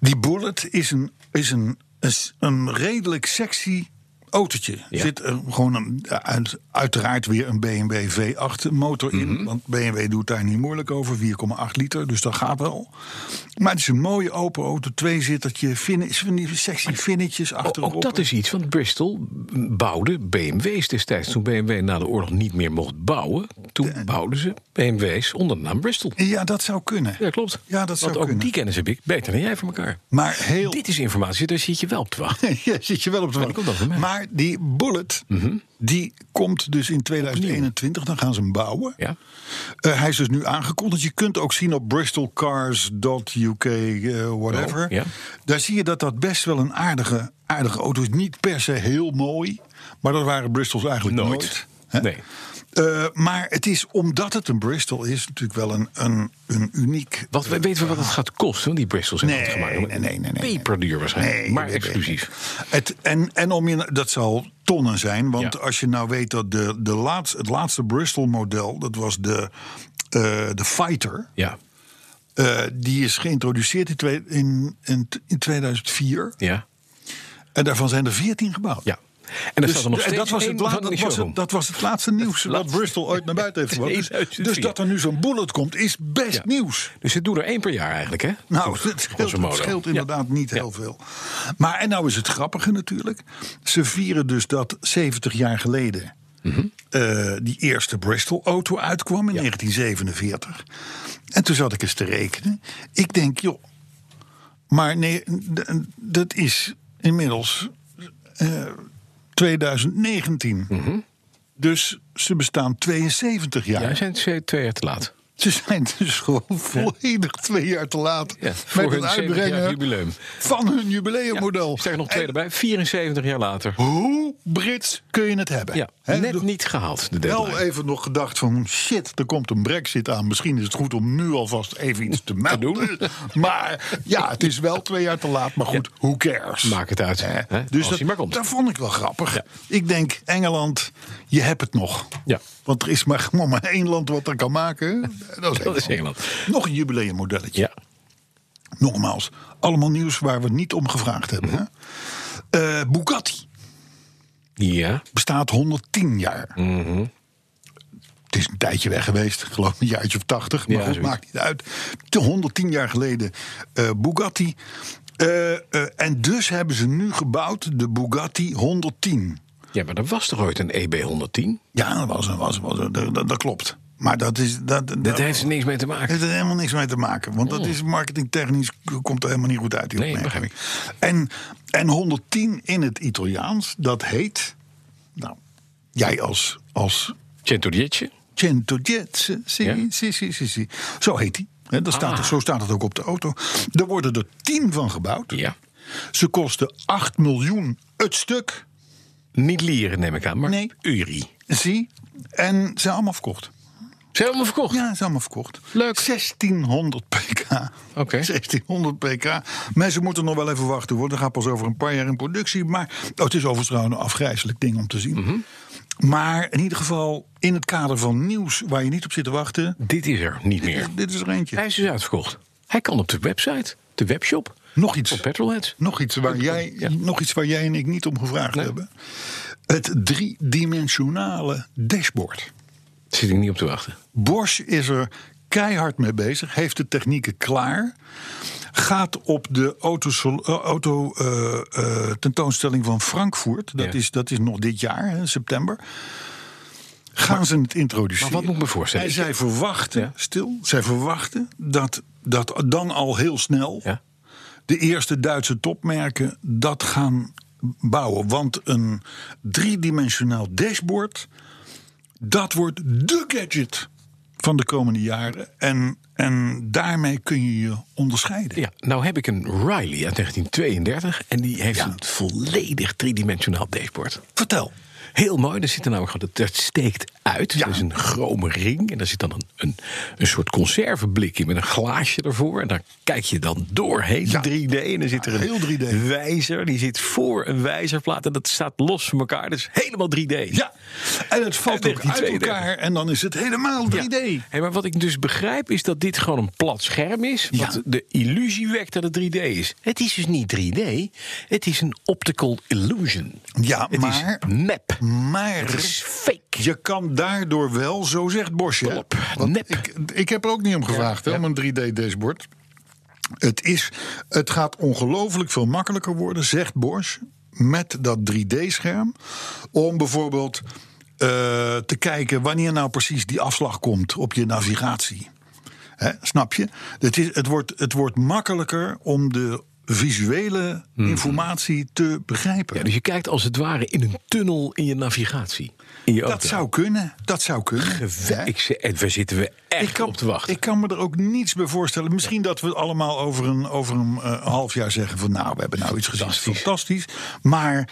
Speaker 3: Die Bullet is een, is een, is een redelijk sexy autootje. Er
Speaker 2: Ja.
Speaker 3: zit er gewoon een, uit- uiteraard weer een BMW V8 motor in.
Speaker 2: Mhm.
Speaker 3: Want BMW doet daar niet moeilijk over. 4,8 liter, dus dat gaat wel. Maar het is een mooie open auto. Tweezittertje, fin, van die sexy finnetjes achterop.
Speaker 2: Ook Oh, dat is iets, want Bristol bouwde BMW's destijds. Toen BMW na de oorlog niet meer mocht bouwen, toen bouwden ze BMW's onder de naam Bristol.
Speaker 3: Ja, dat zou kunnen.
Speaker 2: Ja, klopt.
Speaker 3: Ja, dat zou
Speaker 2: Want ook
Speaker 3: kunnen.
Speaker 2: die kennis heb ik beter dan jij voor elkaar.
Speaker 3: Maar heel...
Speaker 2: Dit is informatie, daar zit je wel op te wachten.
Speaker 3: ja, zit je wel op de
Speaker 2: dat komt over mij. Mhm.
Speaker 3: Maar die Bullet, die komt dus in 2021. Dan gaan ze hem bouwen.
Speaker 2: Ja.
Speaker 3: Eh, hij is dus nu aangekondigd. Je kunt ook zien op bristolcars.uk, eh, whatever.
Speaker 2: Oh, ja.
Speaker 3: Daar zie je dat dat best wel een aardige, aardige auto is. Niet per se heel mooi, maar dat waren Bristols eigenlijk nooit.
Speaker 2: Nooit.
Speaker 3: hè?
Speaker 2: Nee.
Speaker 3: Eh, maar het is, omdat het een Bristol is, natuurlijk wel een, een, een uniek...
Speaker 2: Wat, we- weten we wat het gaat kosten, want die Bristol zijn
Speaker 3: Nee,
Speaker 2: handgemaakt.
Speaker 3: nee, nee, nee, nee.
Speaker 2: Peperduur waarschijnlijk,
Speaker 3: Nee,
Speaker 2: maar
Speaker 3: nee, nee,
Speaker 2: exclusief.
Speaker 3: Het, en, en om je, dat zal tonnen zijn. Want
Speaker 2: Ja.
Speaker 3: als je nou weet dat de, de laatste, het laatste Bristol-model, dat was de, eh, de Fighter.
Speaker 2: Ja.
Speaker 3: Eh, die is geïntroduceerd in, twee- in, in, in 2004.
Speaker 2: Ja.
Speaker 3: En daarvan zijn er 14 gebouwd.
Speaker 2: ja. En er
Speaker 3: Dus
Speaker 2: staat er nog
Speaker 3: en
Speaker 2: steeds
Speaker 3: dat was,
Speaker 2: één
Speaker 3: het
Speaker 2: van
Speaker 3: laat-
Speaker 2: in
Speaker 3: dat,
Speaker 2: de
Speaker 3: was
Speaker 2: showroom.
Speaker 3: het, dat was het laatste nieuws wat
Speaker 2: laatste-
Speaker 3: Bristol ooit naar buiten heeft gebracht. Dus,
Speaker 2: 2004.
Speaker 3: dus dat er nu zo'n bullet komt, is best nieuws.
Speaker 2: Dus ze doen er één per jaar eigenlijk, hè?
Speaker 3: Nou,
Speaker 2: Grosso
Speaker 3: dat scheelt,
Speaker 2: modo.
Speaker 3: dat scheelt
Speaker 2: Ja.
Speaker 3: inderdaad niet heel veel. Maar en nou is het grappige natuurlijk. Ze vieren dus dat 70 jaar geleden
Speaker 2: Mhm.
Speaker 3: eh, die eerste Bristol-auto uitkwam in 1947. En toen zat ik eens te rekenen. Ik denk, joh, maar nee, d- dat is inmiddels eh, 2019. Dus ze bestaan 72 jaar.
Speaker 2: Mhm. Ja, zijn ze twee jaar te laat.
Speaker 3: Ze zijn dus gewoon volledig twee jaar te laat
Speaker 2: Ja, voor
Speaker 3: met het
Speaker 2: hun 70
Speaker 3: uitbrengen
Speaker 2: jaar jubileum.
Speaker 3: van hun jubileummodel.
Speaker 2: Sterker nog,
Speaker 3: En
Speaker 2: twee erbij. 74 jaar later.
Speaker 3: Hoe Brits kun je het hebben?
Speaker 2: Ja,
Speaker 3: Hè,
Speaker 2: net
Speaker 3: bedoel-
Speaker 2: niet gehaald, de
Speaker 3: Wel
Speaker 2: deadline.
Speaker 3: even nog gedacht van shit, er komt een brexit aan. Misschien is het goed om nu alvast even iets te melden. maar ja, het is wel twee jaar te laat. Maar goed, who cares?
Speaker 2: Maakt het uit,
Speaker 3: Hè?
Speaker 2: hè,
Speaker 3: dus
Speaker 2: als
Speaker 3: dat,
Speaker 2: hij maar komt.
Speaker 3: dat vond ik wel grappig. Ik denk, Engeland, je hebt het nog.
Speaker 2: Ja.
Speaker 3: Want er is maar gewoon maar één land wat er kan maken. Dat is,
Speaker 2: Dat is Engeland.
Speaker 3: Nog een jubileummodelletje.
Speaker 2: Ja.
Speaker 3: Nogmaals, allemaal nieuws waar we niet om gevraagd hebben.
Speaker 2: Mhm.
Speaker 3: hè? Eh, Bugatti
Speaker 2: Ja.
Speaker 3: bestaat 110 jaar.
Speaker 2: Mhm.
Speaker 3: Het is een tijdje weg geweest, geloof ik, een jaartje of 80. Maar
Speaker 2: Ja,
Speaker 3: goed,
Speaker 2: zoiets.
Speaker 3: maakt niet uit. Te 110 jaar geleden eh, Bugatti. Eh, eh, en dus hebben ze nu gebouwd de Bugatti 110.
Speaker 2: Ja, maar er was toch ooit een E EB110?
Speaker 3: Ja, dat, was, dat, was, was, dat, dat, dat klopt. Maar dat is. Dat, dat,
Speaker 2: Dat heeft er niks mee te maken.
Speaker 3: heeft er helemaal niks mee te maken. Want dat is marketingtechnisch k- komt er helemaal niet goed uit. Die
Speaker 2: Oh. Nee,
Speaker 3: opmerking. En, en 110 in het Italiaans, dat heet. Nou, jij als, als
Speaker 2: Centurietje?
Speaker 3: Centogetze. Si,
Speaker 2: Ja?
Speaker 3: si, si, si, si. Zo heet hij. Hè, dat staat,
Speaker 2: Ah.
Speaker 3: er- Zo staat het ook op de auto. Er worden er 10 van gebouwd.
Speaker 2: Ja.
Speaker 3: Ze kosten 8 miljoen het stuk.
Speaker 2: Niet lieren neem ik aan, maar
Speaker 3: Nee.
Speaker 2: Uri.
Speaker 3: Zie. En ze zijn allemaal verkocht.
Speaker 2: Zijn allemaal verkocht?
Speaker 3: Ja, is allemaal verkocht.
Speaker 2: Leuk.
Speaker 3: 1600 pk.
Speaker 2: Oké.
Speaker 3: 1600 pk. Mensen moeten nog wel even wachten hoor. Dat gaat pas over een paar jaar in productie. Maar oh, het is overigens trouwens een afgrijzelijk ding om te zien.
Speaker 2: Mhm.
Speaker 3: Maar in ieder geval in het kader van nieuws waar je niet op zit te wachten.
Speaker 2: Dit is er niet meer.
Speaker 3: Dit is er
Speaker 2: Hij
Speaker 3: eentje.
Speaker 2: is dus uitverkocht. Hij kan op de website, de webshop
Speaker 3: Nog
Speaker 2: van
Speaker 3: iets.
Speaker 2: Petrolheads.
Speaker 3: Nog iets, waar jij,
Speaker 2: Ja.
Speaker 3: nog iets waar jij en ik niet om gevraagd
Speaker 2: Nee.
Speaker 3: hebben. Het driedimensionale dashboard.
Speaker 2: Zit ik niet op te wachten.
Speaker 3: Bosch is er keihard mee bezig, heeft de technieken klaar. Gaat op de autosol- eh, auto, eh, eh, tentoonstelling van Frankfurt, dat,
Speaker 2: Ja.
Speaker 3: is, dat is nog dit jaar, hè, september. Gaan ze het introduceren?
Speaker 2: maar wat moet ik me voorstellen?
Speaker 3: En zij verwachten,
Speaker 2: Ja.
Speaker 3: stil, zij verwachten dat, dat dan al heel snel
Speaker 2: Ja.
Speaker 3: de eerste Duitse topmerken dat gaan bouwen. Want een driedimensionaal dashboard, dat wordt de gadget van de komende jaren. En, en daarmee kun je je onderscheiden.
Speaker 2: Ja, nou heb ik een Riley uit 1932 en die heeft een volledig driedimensionaal dashboard.
Speaker 3: Vertel.
Speaker 2: Heel mooi, daar zit er namelijk gewoon, dat steekt uit.
Speaker 3: Ja.
Speaker 2: Er is een chrome ring en daar zit dan een, een, een soort conserveblik in met een glaasje ervoor. En daar kijk je dan doorheen,
Speaker 3: Ja.
Speaker 2: 3D. En dan zit er
Speaker 3: Heel
Speaker 2: een
Speaker 3: 3D.
Speaker 2: wijzer, die zit voor een wijzerplaat en dat staat los van elkaar. Dus helemaal 3D.
Speaker 3: Ja, en het valt
Speaker 2: Uit
Speaker 3: ook uit
Speaker 2: 1932.
Speaker 3: elkaar en dan is het helemaal 3D.
Speaker 2: Ja. Hey, maar wat ik dus begrijp is dat dit gewoon een plat scherm is. Wat
Speaker 3: Ja.
Speaker 2: de illusie wekt dat het 3D is. Het is dus niet 3D. Het is een optical illusion.
Speaker 3: Ja,
Speaker 2: het
Speaker 3: maar-
Speaker 2: is nep.
Speaker 3: Maar
Speaker 2: Het is fake.
Speaker 3: je kan daardoor wel, zo zegt Bosje.
Speaker 2: Klopt.
Speaker 3: want
Speaker 2: Nep.
Speaker 3: Ik, ik heb er ook niet om gevraagd, hè, om een 3D-dashboard. Het, is, het gaat ongelooflijk veel makkelijker worden, zegt Bosch, met dat 3D-scherm. Om bijvoorbeeld eh, te kijken wanneer nou precies die afslag komt op je navigatie. Hè, snap je? Het, is, het, wordt, het wordt makkelijker om de visuele informatie te begrijpen.
Speaker 2: Mhm. Ja, dus je kijkt als het ware in een tunnel in je navigatie. In je
Speaker 3: dat
Speaker 2: auto.
Speaker 3: zou kunnen, dat zou kunnen. Hè?
Speaker 2: Ik zeg, Ed, waar zitten we echt
Speaker 3: Ik kan,
Speaker 2: op te wachten?
Speaker 3: ik kan me er ook niets bij voorstellen. Misschien dat we allemaal over een, over een eh, half jaar zeggen van nou, we hebben nou iets gezien. Fantastisch. Fantastisch. Maar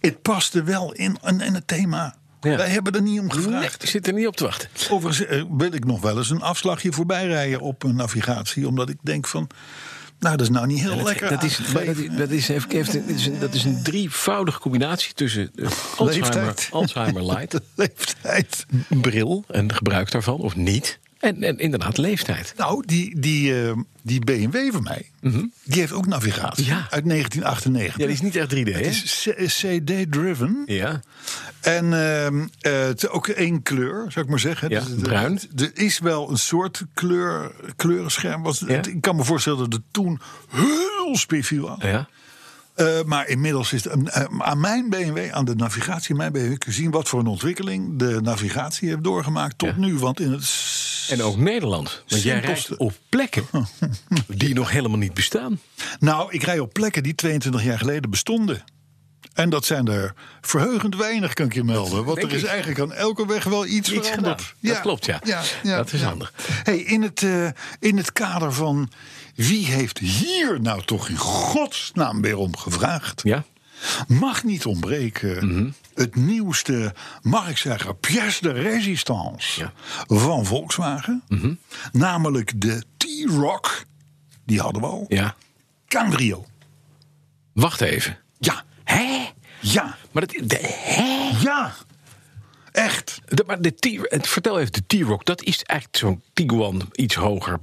Speaker 3: het paste wel in, in, in het thema.
Speaker 2: Ja.
Speaker 3: Wij hebben er niet om
Speaker 2: Nee,
Speaker 3: gevraagd.
Speaker 2: ik zit er niet op te wachten.
Speaker 3: Overigens eh, wil ik nog wel eens een afslagje voorbij rijden op een navigatie. Omdat ik denk van, nou dat is nou niet heel
Speaker 2: Dat-
Speaker 3: lekker
Speaker 2: dat, is, maar dat, is- dat, is, even, even- dat, is een, dat is een drievoudige combinatie tussen eh, Alzheimer,
Speaker 3: Leeftijd.
Speaker 2: Alzheimer light,
Speaker 3: de leeftijd.
Speaker 2: bril en gebruik daarvan, of niet. En, en inderdaad, leeftijd.
Speaker 3: Nou, die, die, eh, die BMW van mij, die heeft ook navigatie.
Speaker 2: Mhm. Ja.
Speaker 3: Uit 1998.
Speaker 2: Ja, die is niet echt 3D, hè?
Speaker 3: Het is C- CD-driven.
Speaker 2: Ja.
Speaker 3: En ehm, eh, het is ook één kleur, zou ik maar zeggen. Dus
Speaker 2: Ja,
Speaker 3: het-
Speaker 2: bruin.
Speaker 3: het- Er is wel een soort kleur, kleurenscherm. Was, het-
Speaker 2: Ja.
Speaker 3: ik kan me voorstellen dat het toen heel spiefiel was.
Speaker 2: ja.
Speaker 3: Eh, maar inmiddels is het eh, aan mijn BMW, aan de navigatie, mijn BMW, kun je zien wat voor een ontwikkeling de navigatie heeft doorgemaakt tot
Speaker 2: Ja.
Speaker 3: nu. Want in het
Speaker 2: En ook Nederland. Want jij
Speaker 3: Simpelste-
Speaker 2: rijdt op plekken die nog helemaal niet bestaan.
Speaker 3: Nou, ik rij op plekken die 22 jaar geleden bestonden. En dat zijn er verheugend weinig, kan ik je melden. Want
Speaker 2: denk
Speaker 3: er is
Speaker 2: ik.
Speaker 3: eigenlijk aan elke weg wel iets,
Speaker 2: Iets
Speaker 3: veranderd.
Speaker 2: gedaan. Dat klopt, ja. Dat is handig.
Speaker 3: Hey, in, het, eh, in het kader van wie heeft hier nou toch in godsnaam weer om gevraagd?
Speaker 2: Ja.
Speaker 3: Mag niet ontbreken
Speaker 2: Mhm.
Speaker 3: het nieuwste, mag ik zeggen, pièce de résistance
Speaker 2: Ja. Mhm.
Speaker 3: van Volkswagen. Namelijk de T-Rock. Die hadden we al.
Speaker 2: Ja.
Speaker 3: Cabrio.
Speaker 2: Wacht even.
Speaker 3: Ja,
Speaker 2: Hè?
Speaker 3: ja,
Speaker 2: Maar, dat, de, hè?
Speaker 3: ja. Echt.
Speaker 2: De- maar de T, het- vertel even, de T-Rock, dat is eigenlijk zo'n Tiguan, iets hoger,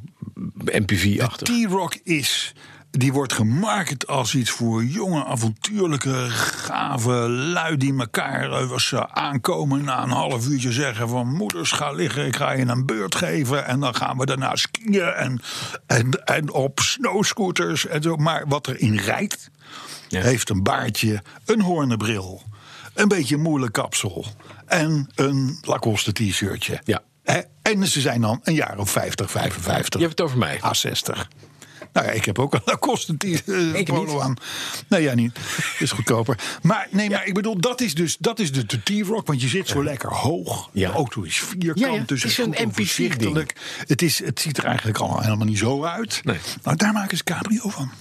Speaker 2: MPV-achtig.
Speaker 3: T-Rock is. Die wordt gemarket als iets voor jonge, avontuurlijke, gave lui die elkaar eh, als ze aankomen na een half uurtje zeggen van moeders ga liggen, ik ga je een beurt geven en dan gaan we daarna skiën en, en, en op snowscooters en zo. Maar wat erin rijdt,
Speaker 2: Ja.
Speaker 3: heeft een baardje, een hoornenbril, een beetje moeilijk kapsel en een Lacoste t-shirtje.
Speaker 2: Ja.
Speaker 3: Hè? En ze zijn dan een jaar of 50, 55.
Speaker 2: Je hebt het over mij.
Speaker 3: A60. Nou ja, ik heb ook een Lacoste die, eh,
Speaker 2: Ik
Speaker 3: polo
Speaker 2: niet.
Speaker 3: aan. Nee, ja, niet. Is goedkoper. Maar nee, maar ik bedoel, dat is dus dat is de, de T-Rock. Want je zit zo lekker hoog.
Speaker 2: Ja.
Speaker 3: De auto is vierkant.
Speaker 2: Ja, ja,
Speaker 3: Dus
Speaker 2: het is
Speaker 3: goed
Speaker 2: een
Speaker 3: en
Speaker 2: MPV
Speaker 3: voorzichtig. Het, is, het ziet er eigenlijk al helemaal niet zo uit.
Speaker 2: Nee.
Speaker 3: Nou, daar maken ze cabrio van.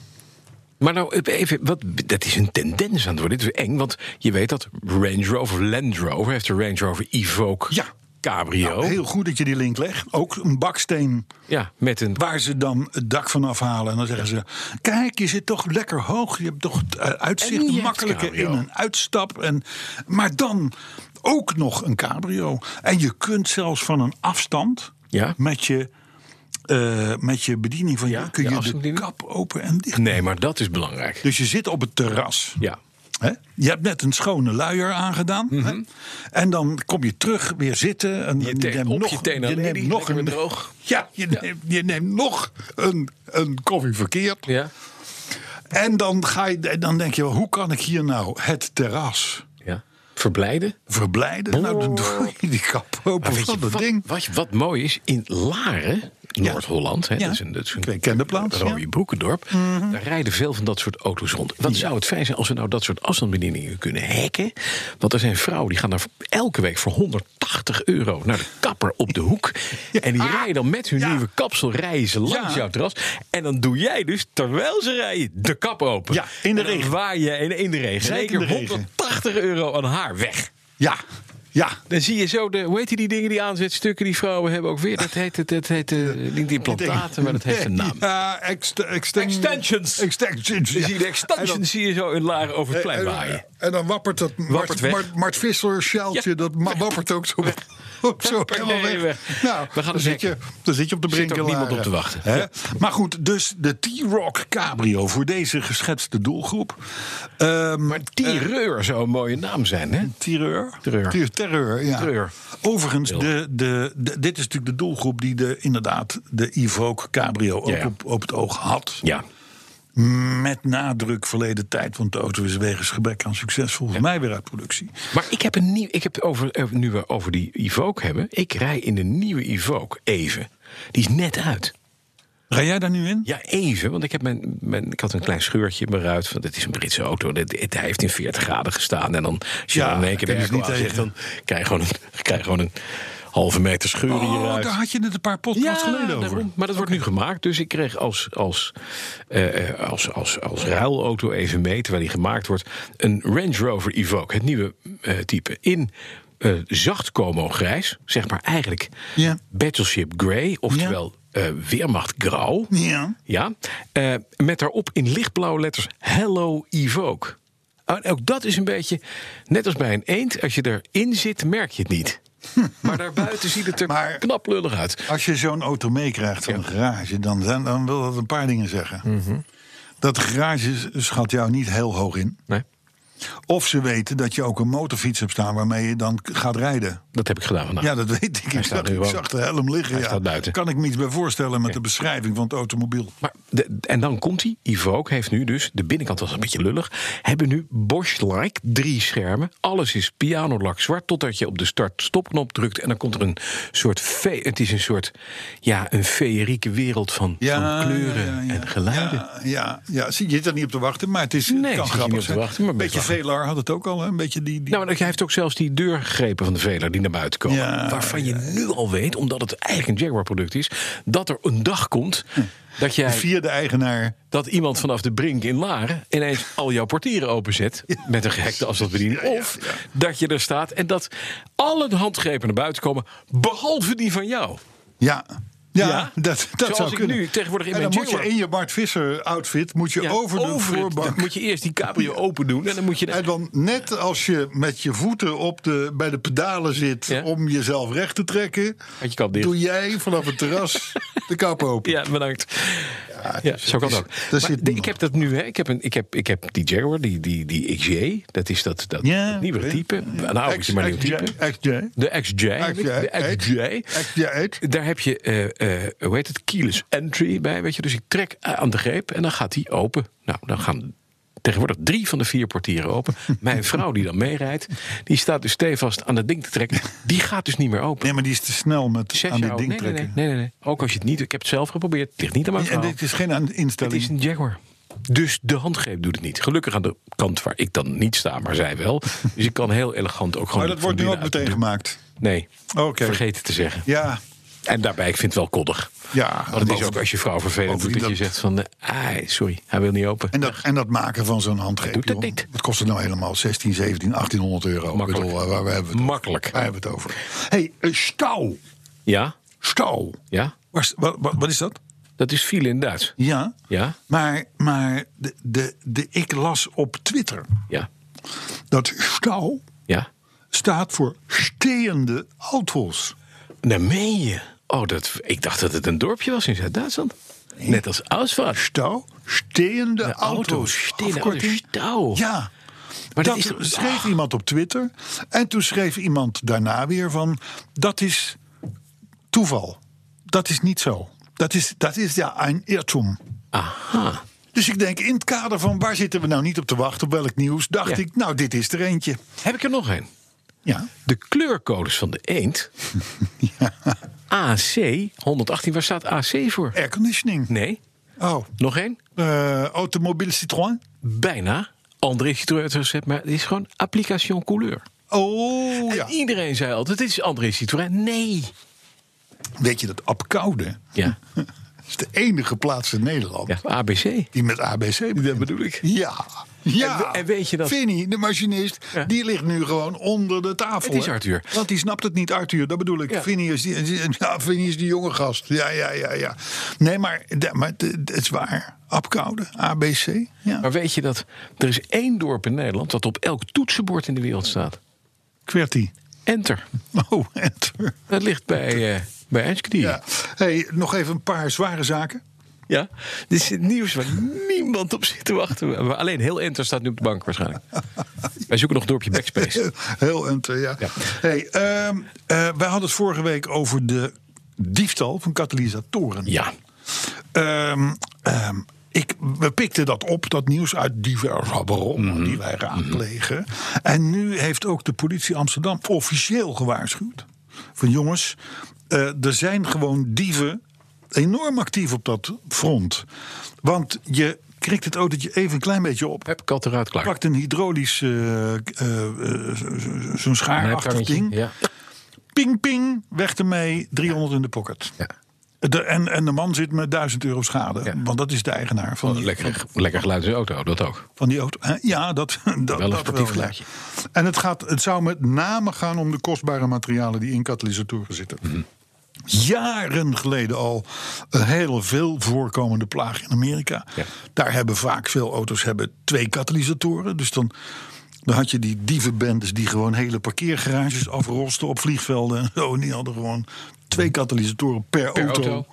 Speaker 2: Maar nou, even, wat, dat is een tendens aan het worden. Dit is eng, want je weet dat Range Rover, Land Rover, heeft de Range Rover Evoque
Speaker 3: Ja. Nou,
Speaker 2: Cabrio.
Speaker 3: Heel goed dat je die link legt. Ook een baksteen
Speaker 2: ja, met een...
Speaker 3: waar ze dan het dak van afhalen. En dan zeggen ze: Kijk, je zit toch lekker hoog. Je hebt toch eh,
Speaker 2: En je
Speaker 3: uitzicht
Speaker 2: hebt
Speaker 3: makkelijker in
Speaker 2: cabrio.
Speaker 3: een uitstap. En, maar dan ook nog een cabrio. En je kunt zelfs van een afstand
Speaker 2: Ja.
Speaker 3: met je. eh, met je bediening van
Speaker 2: Ja,
Speaker 3: je kun
Speaker 2: ja,
Speaker 3: je de
Speaker 2: afstandsbediening.
Speaker 3: kap open en dicht.
Speaker 2: Nee, maar dat is belangrijk.
Speaker 3: Dus je zit op het terras.
Speaker 2: Ja.
Speaker 3: Hè? Je hebt net een schone luier aangedaan. hè? En dan kom je terug, weer zitten. En
Speaker 2: Mhm. Je teen-
Speaker 3: neemt
Speaker 2: op je teen aan
Speaker 3: je neemt
Speaker 2: lady,
Speaker 3: nog
Speaker 2: lekker
Speaker 3: een,
Speaker 2: weer droog.
Speaker 3: Ja, je, Neemt, je neemt nog een, een koffie verkeerd.
Speaker 2: Ja.
Speaker 3: En dan, ga je, en dan denk je wel, hoe kan ik hier nou het terras
Speaker 2: ja. Verblijden.
Speaker 3: verblijden? Nou, dan doe je die kap
Speaker 2: Maar
Speaker 3: open
Speaker 2: weet je,
Speaker 3: van dat
Speaker 2: wat,
Speaker 3: ding.
Speaker 2: Wat, wat mooi is, in Laren, Noord-Holland, hè,
Speaker 3: Ja.
Speaker 2: dat is een, dat is een
Speaker 3: Ik ken de plaats,
Speaker 2: rode
Speaker 3: ja. Mhm.
Speaker 2: broekendorp, daar rijden veel van dat soort auto's rond. Wat zou het fijn zijn als we nou dat soort afstandsbedieningen kunnen hacken? Want er zijn vrouwen die gaan daar elke week voor 180 euro naar de kapper op de hoek. En die rijden dan met hun
Speaker 3: Ja.
Speaker 2: nieuwe kapsel rijden ze langs
Speaker 3: Ja.
Speaker 2: jouw terras. En dan doe jij dus, terwijl ze rijden, de kap open.
Speaker 3: Ja, in de
Speaker 2: En dan
Speaker 3: regen.
Speaker 2: Waar je in, in de regen.
Speaker 3: Zeker in
Speaker 2: Zeker
Speaker 3: de regen.
Speaker 2: 180 euro aan haar weg.
Speaker 3: Ja, ja.
Speaker 2: Dan zie je zo de, hoe heet die, die dingen die aanzetstukken die vrouwen hebben ook weer. Dat heet, het, dat heet eh, niet implantaten, maar dat heeft een naam.
Speaker 3: Ja, ext- exten-
Speaker 2: Extensions.
Speaker 3: Extensions,
Speaker 2: Dan
Speaker 3: ja.
Speaker 2: zie je de
Speaker 3: En
Speaker 2: extension
Speaker 3: dan-
Speaker 2: zie je zo in laren over het plein
Speaker 3: Eh, en,
Speaker 2: waaien.
Speaker 3: en dan wappert dat Mart,
Speaker 2: weg.
Speaker 3: Mart, Mart Visser sjaaltje,
Speaker 2: Ja.
Speaker 3: dat ma- wappert ook zo, op, zo
Speaker 2: Per
Speaker 3: helemaal
Speaker 2: nee,
Speaker 3: weg.
Speaker 2: weg.
Speaker 3: Nou,
Speaker 2: We gaan
Speaker 3: dan,
Speaker 2: eens
Speaker 3: zit je,
Speaker 2: hacken.
Speaker 3: dan zit je op de
Speaker 2: Zit
Speaker 3: brink.
Speaker 2: ook
Speaker 3: in
Speaker 2: niemand
Speaker 3: Laren.
Speaker 2: op te wachten.
Speaker 3: Hè? Maar goed, dus de T-Rock Cabrio voor deze geschetste doelgroep. Ehm,
Speaker 2: Maar tireur zou een mooie naam zijn, hè?
Speaker 3: Terreur.
Speaker 2: Terreur.
Speaker 3: Ter- terreur, ja.
Speaker 2: Terreur.
Speaker 3: Overigens,
Speaker 2: Heel.
Speaker 3: de, de, de- dit is natuurlijk de doelgroep die de, inderdaad de Evoque Cabrio ook
Speaker 2: Ja, ja.
Speaker 3: Op, op het oog had.
Speaker 2: Ja.
Speaker 3: Met nadruk verleden tijd, want de auto is wegens gebrek aan succes volgens mij weer uit productie.
Speaker 2: Maar ik heb een nieuw, ik heb over, eh, nu we over die Evoque hebben. Ik rij in de nieuwe Evoque even. Die is net uit.
Speaker 3: Rij jij daar nu in?
Speaker 2: Ja, even. Want ik, heb mijn, mijn, ik had een klein scheurtje in mijn ruit. Van, het is een Britse auto. Dit- dit- hij heeft in 40 graden gestaan. En dan, als je
Speaker 3: Ja,
Speaker 2: dan in één keer de
Speaker 3: daar kun je
Speaker 2: airco
Speaker 3: dus niet
Speaker 2: aanzet, dan krijg je gewoon een, krijg je gewoon een halve meter scheur in je
Speaker 3: Oh,
Speaker 2: ruit.
Speaker 3: daar had je het een paar podcasts geleden over.
Speaker 2: daarom. Maar dat wordt nu gemaakt. Dus ik kreeg als, als, eh, eh, als, als, als ruilauto even mee, terwijl die gemaakt wordt, een Range Rover Evoque, het nieuwe eh, type, in eh, zacht como grijs, zeg maar eigenlijk
Speaker 3: Ja.
Speaker 2: Battleship Grey, oftewel eh Weermacht Grauw.
Speaker 3: Ja.
Speaker 2: Ja, eh, met daarop in lichtblauwe letters Hello Oh, Evoke. En ook dat is een beetje, net als bij een eend, als je erin zit, merk je het niet. Maar daarbuiten ziet het er
Speaker 3: Maar-
Speaker 2: knap lullig uit.
Speaker 3: Als je zo'n auto meekrijgt van een garage, dan, zijn- dan wil dat een paar dingen zeggen.
Speaker 2: Mhm.
Speaker 3: Dat de garage schat jou niet heel hoog in.
Speaker 2: Nee,
Speaker 3: Of ze weten dat je ook een motorfiets hebt staan waarmee je dan k- gaat rijden.
Speaker 2: dat heb ik gedaan vandaag.
Speaker 3: Ja, dat weet ik.
Speaker 2: staat
Speaker 3: Ik zag,
Speaker 2: nu
Speaker 3: ik
Speaker 2: wel.
Speaker 3: zag de helm liggen.
Speaker 2: Hij
Speaker 3: ja.
Speaker 2: staat buiten.
Speaker 3: Kan ik me iets bij voorstellen met de beschrijving van het automobiel?
Speaker 2: Maar de- en dan komt hij. Evoque heeft nu dus, de binnenkant was een beetje lullig. Hebben nu Bosch-like drie schermen. Alles is pianolak zwart. Totdat je op de start-stopknop drukt. En dan komt er een soort. fe- het is een soort. Ja, een feerieke wereld van, van kleuren
Speaker 3: ja, ja.
Speaker 2: en geluiden.
Speaker 3: Ja, ja, ja. Zie, je zit er niet op te wachten, maar het is
Speaker 2: Nee,
Speaker 3: het
Speaker 2: ik
Speaker 3: kan
Speaker 2: zit er niet
Speaker 3: grappig
Speaker 2: op te
Speaker 3: zijn.
Speaker 2: wachten, maar
Speaker 3: Een
Speaker 2: best
Speaker 3: beetje
Speaker 2: lachen.
Speaker 3: Velar had het ook al, hè? een beetje die... die...
Speaker 2: Nou, maar hij heeft ook zelfs die deurgrepen van de Veler die naar buiten komen.
Speaker 3: Ja,
Speaker 2: waarvan je nu al weet, omdat het eigenlijk een Jaguar-product is, dat er een dag komt dat,
Speaker 3: Hm. de
Speaker 2: jij,
Speaker 3: vierde eigenaar.
Speaker 2: dat iemand vanaf de brink in Laren ineens al jouw portieren openzet. Met een gehekte afstandsbediening. Of dat je er staat en dat alle handgrepen naar buiten komen, behalve die van jou.
Speaker 3: Ja. Ja,
Speaker 2: Ja.
Speaker 3: dat, dat
Speaker 2: Zoals
Speaker 3: zou
Speaker 2: ik
Speaker 3: kunnen.
Speaker 2: nu tegenwoordig in
Speaker 3: en
Speaker 2: mijn
Speaker 3: dan moet je
Speaker 2: Jaguar-
Speaker 3: in je Bart Visser outfit moet je
Speaker 2: Ja,
Speaker 3: over de
Speaker 2: over het-
Speaker 3: voorbank.
Speaker 2: Dan moet je eerst die cabrio open doen en dan moet je...
Speaker 3: En dan net als je met je voeten op de, bij de pedalen zit
Speaker 2: Ja.
Speaker 3: om jezelf recht te trekken,
Speaker 2: Had je kap dicht.
Speaker 3: doe jij vanaf het terras de kap open.
Speaker 2: Ja, bedankt. Ja, zo kan het ook.
Speaker 3: daar
Speaker 2: Maar
Speaker 3: zit
Speaker 2: de- ik
Speaker 3: niemand.
Speaker 2: heb dat nu, hè. Ik heb, een, ik heb, ik heb die Jaguar, die, die, die XJ. Dat is dat, dat
Speaker 3: Ja,
Speaker 2: nieuwe
Speaker 3: oké.
Speaker 2: type. Een oude is
Speaker 3: Ex-
Speaker 2: maar een nieuw
Speaker 3: XJ,
Speaker 2: type.
Speaker 3: XJ.
Speaker 2: De XJ. De
Speaker 3: XJ.
Speaker 2: XJ.
Speaker 3: XJ.
Speaker 2: Daar heb je, eh, eh, hoe heet het, keyless entry bij. Weet je? Dus ik trek eh, aan de greep en dan gaat die open. Nou, dan gaan tegenwoordig drie van de vier portieren open. Mijn vrouw die dan meerijdt, die staat dus stevast aan dat ding te trekken. Die gaat dus niet meer open.
Speaker 3: Nee, maar die is te snel met
Speaker 2: Zes
Speaker 3: aan
Speaker 2: jaar
Speaker 3: dit
Speaker 2: oud.
Speaker 3: ding
Speaker 2: nee, nee,
Speaker 3: trekken.
Speaker 2: nee, nee, nee, nee. Ook als je het niet... Ik heb het zelf geprobeerd. Het ligt niet aan mijn
Speaker 3: En
Speaker 2: vrouw.
Speaker 3: dit is geen aan-
Speaker 2: Het
Speaker 3: instelling.
Speaker 2: is een Jaguar. Dus de handgreep doet het niet. Gelukkig aan de kant waar ik dan niet sta, maar zij wel. Dus ik kan heel elegant ook gewoon.
Speaker 3: maar dat
Speaker 2: van
Speaker 3: wordt nu ook
Speaker 2: binnenuit
Speaker 3: meteen
Speaker 2: doen.
Speaker 3: gemaakt.
Speaker 2: Nee,
Speaker 3: Oké.
Speaker 2: vergeet het te zeggen.
Speaker 3: Ja,
Speaker 2: En daarbij, ik vind het wel koddig.
Speaker 3: Ja,
Speaker 2: Want het is
Speaker 3: boven-
Speaker 2: ook als je vrouw vervelend doet,
Speaker 3: bovendien
Speaker 2: dat je
Speaker 3: dat-
Speaker 2: zegt van... eh, ai, sorry, hij wil niet open.
Speaker 3: en dat, en dat maken van zo'n handgreep.
Speaker 2: Doet dat
Speaker 3: joh.
Speaker 2: niet.
Speaker 3: Wat kost het nou helemaal? 16, 17, 1800 euro. Ik
Speaker 2: Makkelijk.
Speaker 3: bedoel, waar, waar hebben we het
Speaker 2: Makkelijk.
Speaker 3: over? Waar hebben we het over? hey, een stouw.
Speaker 2: Ja,
Speaker 3: Stouw.
Speaker 2: ja,
Speaker 3: Waar- Wat, wat, wat is dat?
Speaker 2: dat is file in Duits.
Speaker 3: Ja.
Speaker 2: Ja,
Speaker 3: Maar, maar de, de, de, ik las op Twitter
Speaker 2: ja,
Speaker 3: dat stouw
Speaker 2: ja.
Speaker 3: staat voor steende auto's.
Speaker 2: Nou, meen je? Oh, dat, ik dacht dat het een dorpje was in Zuid-Duitsland. Net als Ausfahrt.
Speaker 3: Stouw, steende
Speaker 2: De
Speaker 3: auto's.
Speaker 2: auto's, stille auto's,
Speaker 3: Afkorting.
Speaker 2: stauw.
Speaker 3: Ja.
Speaker 2: Maar dat
Speaker 3: dat
Speaker 2: is Ah. toch-
Speaker 3: schreef iemand op Twitter. En toen schreef iemand daarna weer van... dat is toeval. Dat is niet zo. Dat is, dat is ja een Irrtum.
Speaker 2: Aha.
Speaker 3: Dus ik denk, in het kader van waar zitten we nou niet op te wachten... op welk nieuws, dacht
Speaker 2: Ja.
Speaker 3: ik, nou, dit is er eentje.
Speaker 2: Heb ik er nog een?
Speaker 3: Ja.
Speaker 2: De kleurcodes van de eend. AC 118, waar staat AC voor?
Speaker 3: Airconditioning.
Speaker 2: Nee,
Speaker 3: Oh,
Speaker 2: nog één?
Speaker 3: eh, automobiel Citroën.
Speaker 2: Bijna. André Citroën heeft het gezet, maar het is gewoon application couleur.
Speaker 3: Oh, ja.
Speaker 2: En iedereen zei altijd, dit is André Citroën. Nee.
Speaker 3: Weet je dat Apkoude
Speaker 2: Ja,
Speaker 3: is de enige plaats in Nederland
Speaker 2: ja ABC.
Speaker 3: die met ABC
Speaker 2: Dat
Speaker 3: begint.
Speaker 2: bedoel ik.
Speaker 3: Ja. Ja.
Speaker 2: En we- en weet je dat-
Speaker 3: Vinnie, de machinist,
Speaker 2: Ja.
Speaker 3: die ligt nu gewoon onder de tafel.
Speaker 2: Het is
Speaker 3: hè?
Speaker 2: Arthur.
Speaker 3: Want die snapt het niet, Arthur. Dat bedoel ik.
Speaker 2: Ja.
Speaker 3: Vinnie is die, is- ja, Vinnie is die jonge gast. Ja, ja, ja, ja. Nee, maar, de- maar het- het is waar. Apkoude, ABC. Ja.
Speaker 2: Maar weet je dat er is één dorp in Nederland dat op elk toetsenbord in de wereld staat?
Speaker 3: QWERTY.
Speaker 2: Enter.
Speaker 3: Oh, enter.
Speaker 2: Dat ligt bij, eh bij Enschede.
Speaker 3: Ja. Hey, nog even een paar zware zaken.
Speaker 2: Ja, dit is het nieuws waar niemand op zit te wachten. Maar Alleen heel Enter staat nu op de bank waarschijnlijk. Wij zoeken nog een dorpje Backspace.
Speaker 3: Heel enter, ja.
Speaker 2: Ja.
Speaker 3: Hey, ehm, eh, wij hadden het vorige week over de diefstal van katalysatoren.
Speaker 2: Ja,
Speaker 3: Ehm, ehm, ik, we pikten dat op, dat nieuws uit diverse bronnen
Speaker 2: Mhm.
Speaker 3: die wij raadplegen. En nu heeft ook de politie Amsterdam officieel gewaarschuwd. Van jongens, eh, er zijn gewoon dieven enorm actief op dat front. Want je krikt het autootje even een klein beetje op
Speaker 2: heb ik al eruit klaar.
Speaker 3: pakt een hydraulisch, eh, eh, eh, zo- zo- zo'n schaarachtig
Speaker 2: Nijpkangetje,
Speaker 3: ding.
Speaker 2: Ja.
Speaker 3: Ping, ping, weg ermee, 300 in de pocket.
Speaker 2: Ja.
Speaker 3: De, en, en de man zit met 1000 euro schade.
Speaker 2: Ja. Oh,
Speaker 3: Want dat is de eigenaar van die,
Speaker 2: Lekker, lekker geluid in de auto, dat ook.
Speaker 3: van die auto. Hè? Ja, dat, dat
Speaker 2: Wel een
Speaker 3: dat
Speaker 2: sportief
Speaker 3: ja.
Speaker 2: geluidje.
Speaker 3: En het, gaat, het zou met name gaan om de kostbare materialen die in katalysatoren zitten.
Speaker 2: Mhm.
Speaker 3: Jaren geleden al een hele veel voorkomende plaag in Amerika.
Speaker 2: Ja.
Speaker 3: Daar hebben vaak veel auto's hebben twee katalysatoren. Dus dan Dan had je die dievenbendes die gewoon hele parkeergarages afrosten op vliegvelden en zo. En die hadden gewoon twee katalysatoren per, auto.
Speaker 2: auto.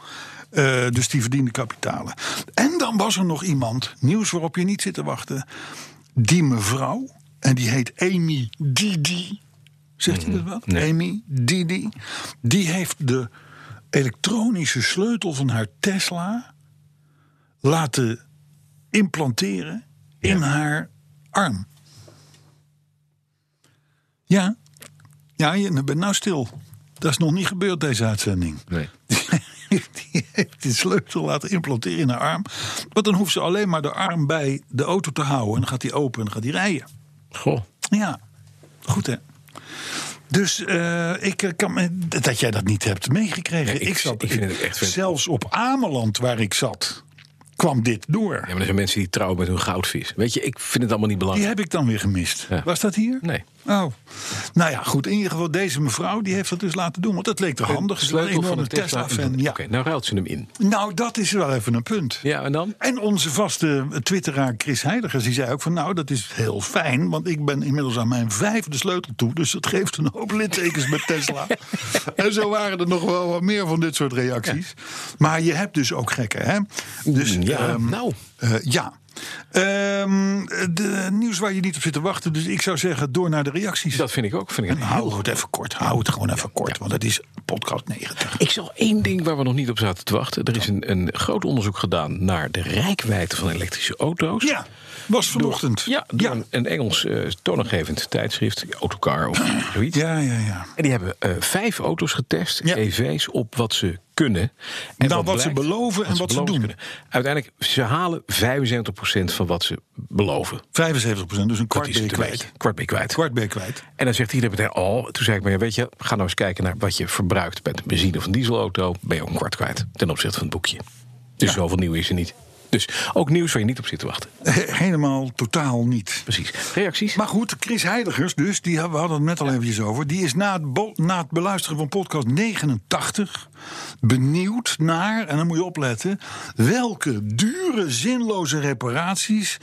Speaker 3: Eh, dus die verdienden kapitalen. En dan was er nog iemand, nieuws waarop je niet zit te wachten. Die mevrouw, en die heet Amy Didi. Zegt hij dat wat? Amy Didi. Die heeft de elektronische sleutel van haar Tesla laten implanteren in haar arm. Ja, ja je bent nou stil. Dat is nog niet gebeurd deze uitzending.
Speaker 2: Nee.
Speaker 3: Die heeft die sleutel laten implanteren in haar arm. Want dan hoeft ze alleen maar de arm bij de auto te houden. En dan gaat die open en dan gaat die rijden.
Speaker 2: Goh.
Speaker 3: Ja, goed hè. Dus eh, ik eh, kan me- dat jij dat niet hebt meegekregen.
Speaker 2: Nee, ik-
Speaker 3: ik, zat,
Speaker 2: ik vind het echt vreemd.
Speaker 3: zelfs op Ameland waar ik zat, kwam dit door.
Speaker 2: Ja, maar er zijn mensen die trouwen met hun goudvis. Weet je, ik vind het allemaal niet
Speaker 3: Die
Speaker 2: belangrijk.
Speaker 3: heb ik dan weer gemist.
Speaker 2: Ja.
Speaker 3: Was dat hier?
Speaker 2: Nee.
Speaker 3: Oh. Nou ja, goed. In ieder geval, deze mevrouw die heeft dat dus laten doen. Want dat leek er handig. Ze was een
Speaker 2: Sleutel van
Speaker 3: enorme
Speaker 2: een Tesla.
Speaker 3: Tesla-fan. Ja.
Speaker 2: Oké, nou ruilt ze hem in.
Speaker 3: Nou, dat is wel even een punt.
Speaker 2: Ja, en dan?
Speaker 3: En onze vaste twitteraar Chris Heidegers, die zei ook van... nou, dat is heel fijn, want ik ben inmiddels aan mijn vijfde sleutel toe... dus dat geeft een hoop littekens met Tesla. en zo waren er nog wel wat meer van dit soort reacties. Maar je hebt dus ook gekken, hè? Dus,
Speaker 2: ja,
Speaker 3: ehm,
Speaker 2: nou.
Speaker 3: eh, ja. Ehm, de nieuws waar je niet op zit te wachten. Dus ik zou zeggen, door naar de reacties.
Speaker 2: Dat vind ik ook. Vind ik,
Speaker 3: en
Speaker 2: een
Speaker 3: hou het even kort. Hou het gewoon even kort, want het is podcast 90.
Speaker 2: Ik zag één ding waar we nog niet op zaten te wachten. Er is een, een groot onderzoek gedaan naar de rijkwijde van elektrische auto's.
Speaker 3: Ja, was vanochtend.
Speaker 2: Ja, door Een, een Engels eh, toonaangevend tijdschrift, Autocar of zoiets.
Speaker 3: Ah. ja, ja, ja.
Speaker 2: En die hebben eh, vijf auto's getest,
Speaker 3: Ja.
Speaker 2: EV's, op wat ze kunnen. En
Speaker 3: Nou, wat ze beloven en wat ze
Speaker 2: beloven
Speaker 3: doen.
Speaker 2: Uiteindelijk, ze halen 75% van wat ze beloven.
Speaker 3: 75 dus een kwart
Speaker 2: dat is
Speaker 3: ben je
Speaker 2: het een beetje.
Speaker 3: kwijt.
Speaker 2: Kwart ben je kwijt.
Speaker 3: Kwart ben je kwijt.
Speaker 2: En dan zegt iedereen meteen, oh, toen zei ik maar, ja, weet je, ga nou eens kijken naar wat je verbruikt met een benzine of een dieselauto. Ben je ook een kwart kwijt ten opzichte van het boekje. Dus zoveel nieuw is er niet. Dus ook nieuws waar je niet op zit te wachten.
Speaker 3: He- Helemaal totaal niet.
Speaker 2: Precies. Reacties?
Speaker 3: Maar goed, Chris Heidegers dus, die, had- we hadden het net al eventjes over... die is na het, bo- na het beluisteren van podcast 89 benieuwd naar... en dan moet je opletten, welke dure, zinloze reparaties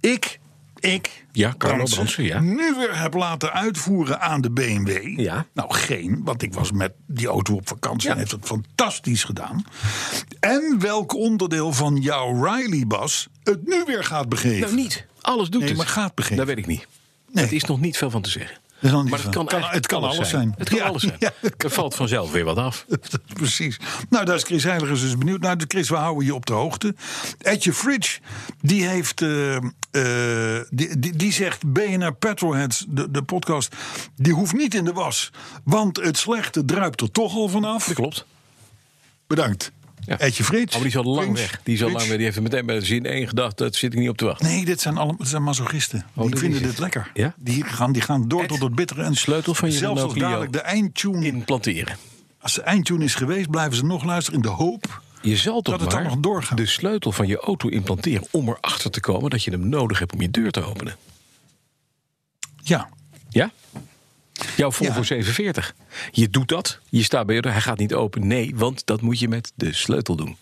Speaker 3: ik... Ik,
Speaker 2: Ja, Carlo Bransen, ja.
Speaker 3: nu weer heb laten uitvoeren aan de BMW.
Speaker 2: Ja.
Speaker 3: Nou, geen, want ik was met die auto op vakantie en heeft het fantastisch gedaan. En welk onderdeel van jouw Riley-bas het nu weer gaat begeven.
Speaker 2: nou, niet. Alles doet
Speaker 3: Nee,
Speaker 2: het.
Speaker 3: maar gaat beginnen.
Speaker 2: Dat weet ik niet.
Speaker 3: Nee.
Speaker 2: Het is nog niet veel van te zeggen.
Speaker 3: is nog niet
Speaker 2: maar het
Speaker 3: veel.
Speaker 2: kan,
Speaker 3: Kan-
Speaker 2: eigenlijk
Speaker 3: het kan alles zijn.
Speaker 2: Het kan
Speaker 3: Ja,
Speaker 2: alles zijn.
Speaker 3: ja, het
Speaker 2: er valt vanzelf weer wat af.
Speaker 3: Precies. Nou, daar is Chris Heiligers dus benieuwd naar. Dus Chris, we houden je op de hoogte. Edje Fridge, die heeft... eh, eh, die, die, die zegt BNR Petrolheads, de, de podcast... die hoeft niet in de was. Want het slechte druipt er toch al vanaf.
Speaker 2: Dat klopt.
Speaker 3: Bedankt.
Speaker 2: Ja.
Speaker 3: Edje Frits.
Speaker 2: Oh, maar die is al lang
Speaker 3: Prins,
Speaker 2: weg. Die, is al lang
Speaker 3: Frits.
Speaker 2: weg. die heeft er meteen bij de zin één gedacht. Dat zit ik niet op te wachten.
Speaker 3: Nee, dit zijn, allemaal, dit zijn masochisten. die
Speaker 2: dat
Speaker 3: vinden
Speaker 2: Oh, is
Speaker 3: dit
Speaker 2: het.
Speaker 3: lekker.
Speaker 2: Ja?
Speaker 3: Die, gaan, die gaan door tot het bittere. En
Speaker 2: sleutel van je
Speaker 3: Zelfs
Speaker 2: Renault
Speaker 3: als
Speaker 2: Clio.
Speaker 3: dadelijk de eindtune...
Speaker 2: Implanteren.
Speaker 3: Als de eindtune is geweest, blijven ze nog luisteren in de hoop...
Speaker 2: Je zal toch
Speaker 3: Dat het
Speaker 2: maar
Speaker 3: dan nog doorgaat.
Speaker 2: de sleutel van je auto implanteren om erachter te komen dat je hem nodig hebt om je deur te openen.
Speaker 3: Ja,
Speaker 2: Ja? Jouw Volvo
Speaker 3: Ja.
Speaker 2: 47. Je doet dat, je staat bij je deur, hij gaat niet open. Nee, want dat moet je met de sleutel doen.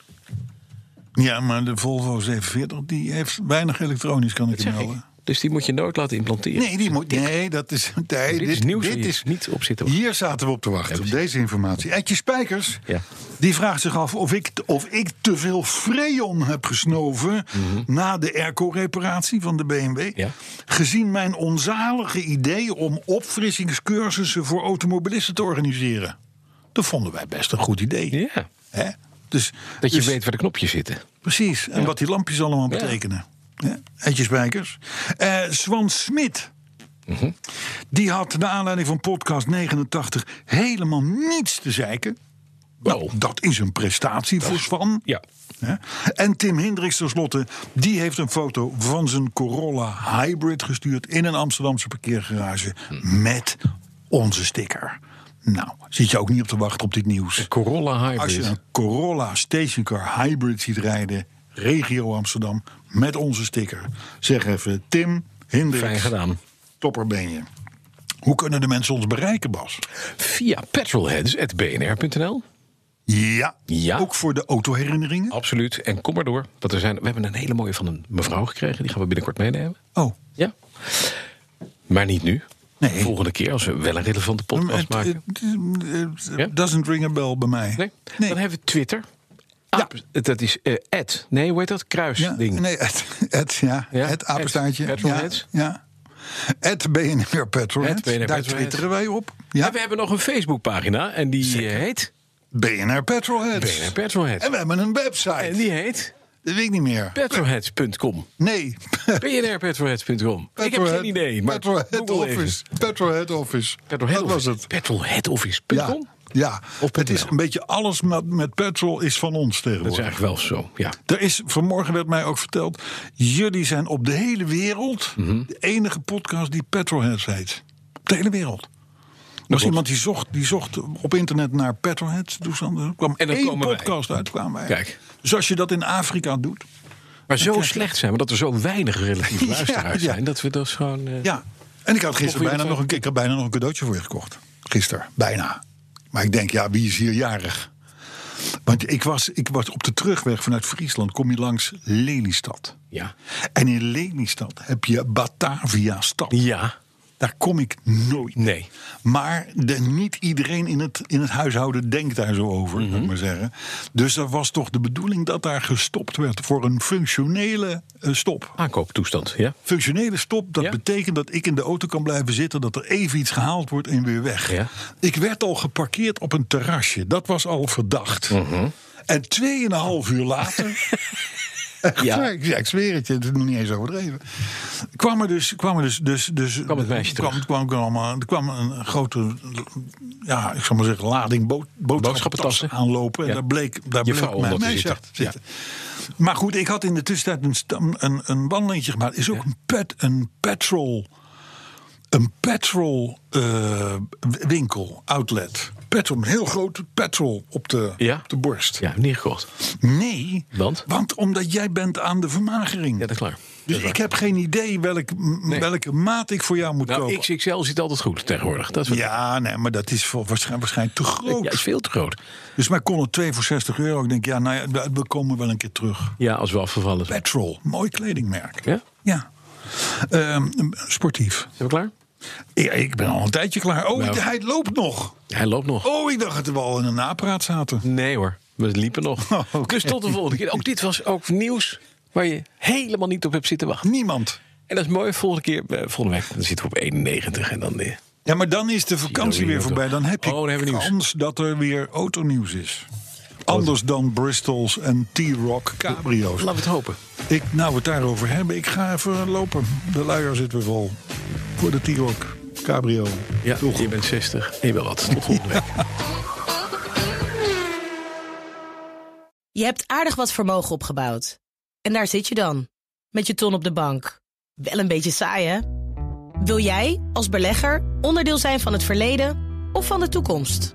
Speaker 3: Ja, maar de Volvo 47 die heeft weinig elektronisch, kan ik
Speaker 2: Dat
Speaker 3: je
Speaker 2: zeg ik.
Speaker 3: melden.
Speaker 2: Dus die moet je nooit laten implanteren.
Speaker 3: Nee, die moet, nee, dat is. Nee,
Speaker 2: dit, is nieuws waar
Speaker 3: Dit
Speaker 2: je
Speaker 3: is,
Speaker 2: niet op zitten.
Speaker 3: hier zaten we op te wachten, op deze informatie. Etje Spijkers,
Speaker 2: Ja.
Speaker 3: die vraagt zich af of ik, of ik te veel freon heb gesnoven... na de airco-reparatie van de BMW.
Speaker 2: Mhm. Ja.
Speaker 3: Gezien mijn onzalige idee om opfrissingscursussen... voor automobilisten te organiseren. Dat vonden wij best een goed idee.
Speaker 2: Ja,
Speaker 3: Hè? Dus,
Speaker 2: dat je
Speaker 3: dus-
Speaker 2: weet waar de knopjes zitten.
Speaker 3: Precies, en wat die lampjes allemaal
Speaker 2: Ja.
Speaker 3: betekenen. Ja. Etje Spijkers. Eh, Swan Smit.
Speaker 2: Mhm.
Speaker 3: Die had naar aanleiding van podcast 89 helemaal niets te zeiken. Nou,
Speaker 2: Wow.
Speaker 3: dat is een prestatie voor Swan.
Speaker 2: Oh. Ja.
Speaker 3: Hè? En Tim Hendricks tenslotte, die heeft een foto van zijn Corolla Hybrid gestuurd... in een Amsterdamse parkeergarage
Speaker 2: Hmm.
Speaker 3: met onze sticker. Nou, zit je ook niet op te wachten op dit nieuws.
Speaker 2: Corolla Hybrid.
Speaker 3: Als je een Corolla stationcar hybrid ziet rijden, regio Amsterdam, met onze sticker. Zeg even, Tim,
Speaker 2: Fijn
Speaker 3: Hendricks,
Speaker 2: gedaan.
Speaker 3: topper ben je. Hoe kunnen de mensen ons bereiken, Bas?
Speaker 2: Via petrolheads.bnr.nl.
Speaker 3: Ja,
Speaker 2: Ja.
Speaker 3: ook voor de autoherinneringen?
Speaker 2: Absoluut. En kom maar door. Want Oh, er zijn, we hebben een hele mooie van een mevrouw gekregen. Die gaan we binnenkort meenemen.
Speaker 3: Oh,
Speaker 2: Ja. Maar niet nu.
Speaker 3: Nee.
Speaker 2: Volgende keer, als we wel een relevante podcast
Speaker 3: Het-
Speaker 2: maken.
Speaker 3: het- het-
Speaker 2: Ja?
Speaker 3: het Doesn't ring a bell bij mij.
Speaker 2: Nee?
Speaker 3: Nee.
Speaker 2: Dan hebben we Twitter. Ja. Dat is eh at. Nee, hoe heet dat?
Speaker 3: Ja,
Speaker 2: Kruisding.
Speaker 3: nee, het, het, ja,
Speaker 2: Ja,
Speaker 3: het apenstaartje.
Speaker 2: het petrolheads.
Speaker 3: Ja, ja. Het BNR Petrolheads.
Speaker 2: Het BNR
Speaker 3: Daar
Speaker 2: Petrolheads.
Speaker 3: twitteren wij op.
Speaker 2: En
Speaker 3: Ja,
Speaker 2: we hebben nog een Facebookpagina. En die eh, heet
Speaker 3: BNR Petrolheads.
Speaker 2: BNR Petrolhead.
Speaker 3: En we hebben een website.
Speaker 2: En die heet
Speaker 3: Dat weet ik niet meer.
Speaker 2: petrolheads.com.
Speaker 3: Nee.
Speaker 2: bnrpetrolheads.com. Ik heb
Speaker 3: Petrolhead-
Speaker 2: geen idee, maar
Speaker 3: Petrolhead
Speaker 2: Google even.
Speaker 3: Office. Petrolhead Office.
Speaker 2: Petrolhead
Speaker 3: Dat was
Speaker 2: Office.
Speaker 3: het. Ja.
Speaker 2: Petrolheadoffice.com?
Speaker 3: Ja,
Speaker 2: Of
Speaker 3: het is
Speaker 2: .nl.
Speaker 3: een beetje alles met, met petrol is van ons
Speaker 2: Dat is
Speaker 3: tegenwoordig.
Speaker 2: eigenlijk wel zo, ja.
Speaker 3: Er is, vanmorgen werd mij ook verteld, jullie zijn op de hele wereld
Speaker 2: Mhm.
Speaker 3: de enige podcast die Petrolheads heet. Op de hele wereld. Er was iemand die zocht, die zocht op internet naar Petrolheads. Dus dan, er kwam
Speaker 2: En dan
Speaker 3: één
Speaker 2: komen wij.
Speaker 3: podcast uit. Kwamen wij.
Speaker 2: Kijk.
Speaker 3: Dus als je dat in Afrika doet.
Speaker 2: Maar zo slecht zijn we dat er zo weinig relatief
Speaker 3: Ja,
Speaker 2: luisteraars
Speaker 3: ja.
Speaker 2: zijn... dat we dat gewoon... eh,
Speaker 3: Ja. En ik had
Speaker 2: Of
Speaker 3: gisteren
Speaker 2: weer
Speaker 3: bijna
Speaker 2: een-
Speaker 3: nog een, ik had bijna nog een cadeautje voor je gekocht. Gisteren, bijna. Maar ik denk, ja, wie is hier jarig? Want ik was, ik was op de terugweg vanuit Friesland. Kom je langs Lelystad.
Speaker 2: ja.
Speaker 3: En in Lelystad heb je Batavia-stad.
Speaker 2: Ja.
Speaker 3: Daar kom ik nooit.
Speaker 2: Nee.
Speaker 3: Maar de, niet iedereen in het, in het huishouden denkt daar zo over,
Speaker 2: Mhm.
Speaker 3: moet ik maar zeggen. Dus dat was toch de bedoeling dat daar gestopt werd voor een functionele eh, stop.
Speaker 2: Aankooptoestand, ja.
Speaker 3: Functionele stop, dat
Speaker 2: Ja.
Speaker 3: betekent dat ik in de auto kan blijven zitten, dat er even iets gehaald wordt en weer weg.
Speaker 2: Ja.
Speaker 3: Ik werd al geparkeerd op een terrasje, dat was al verdacht.
Speaker 2: Mhm.
Speaker 3: En tweeënhalf uur later. Echt
Speaker 2: Ja.
Speaker 3: waar, ik, ja, ik zweer het je, het is nog niet eens overdreven. Kwam er dus. Kwam er dus, dus, dus
Speaker 2: Kwam het meisje
Speaker 3: kwam,
Speaker 2: terug.
Speaker 3: kwam, kwam, allemaal- er kwam een grote. Ja, ik zal maar zeggen, lading bood, boodschappentassen
Speaker 2: Boodschappentassen.
Speaker 3: aanlopen. En
Speaker 2: Ja.
Speaker 3: daar bleek, daar
Speaker 2: Je
Speaker 3: bleek
Speaker 2: vrouw
Speaker 3: mijn
Speaker 2: onder te
Speaker 3: meisje
Speaker 2: zitten.
Speaker 3: achter te zitten. Maar goed, ik had in de tussentijd een, stam- een, een wandelingetje gemaakt. Er is ook een, pet, een petrol een petrol eh, winkel, outlet. Petrol, een heel grote petrol op de,
Speaker 2: Ja.
Speaker 3: op de borst.
Speaker 2: Ja, niet gekocht.
Speaker 3: Nee,
Speaker 2: Want?
Speaker 3: omdat jij bent aan de vermagering.
Speaker 2: Ja, dat is klaar.
Speaker 3: dus ik heb geen idee welk, m- welke maat ik voor jou moet
Speaker 2: Nou,
Speaker 3: kopen.
Speaker 2: XXL zit altijd goed tegenwoordig. Dat is wel-
Speaker 3: Ja, nee, maar dat is voor, waarschijn- waarschijnlijk, te groot.
Speaker 2: Ja, is veel te groot.
Speaker 3: Dus mij kon het 2 voor 60 euro. Ik denk, ja, nou ja, we- we komen wel een keer terug.
Speaker 2: Ja, als we afgevallen zijn.
Speaker 3: Petrol, mooi kledingmerk.
Speaker 2: Ja?
Speaker 3: Ja. Ehm, sportief.
Speaker 2: Zijn we klaar?
Speaker 3: Ja, ik ben al een tijdje klaar. Oh,
Speaker 2: Nou.
Speaker 3: hij loopt nog.
Speaker 2: Hij loopt nog.
Speaker 3: Oh, ik dacht dat we al in een napraat zaten.
Speaker 2: Nee hoor, we liepen nog.
Speaker 3: Oh, oké.
Speaker 2: Dus tot de volgende keer. Ook dit was ook nieuws waar je helemaal niet op hebt zitten wachten.
Speaker 3: Niemand.
Speaker 2: En dat is mooi, volgende keer, eh, volgende week, dan zitten we op 91 en dan... eh,
Speaker 3: Ja, maar dan is de vakantie
Speaker 2: Zie je
Speaker 3: weer
Speaker 2: dat
Speaker 3: voorbij.
Speaker 2: weer
Speaker 3: Dan heb je
Speaker 2: ook. Oh, dan hebben we nieuws.
Speaker 3: kans dat er weer autonieuws is. Anders dan Bristols en T-Rock cabrio's.
Speaker 2: Laten we het hopen.
Speaker 3: Ik, nou, we het daarover hebben. Ik ga even lopen. De luier zit weer vol. Voor de T-Rock cabrio.
Speaker 2: Ja, je bent 60 en je wil wat. Tot volgende week.
Speaker 6: Je hebt aardig wat vermogen opgebouwd. En daar zit je dan, met je ton op de bank. Wel een beetje saai, hè? Wil jij, als belegger, onderdeel zijn van het verleden of van de toekomst?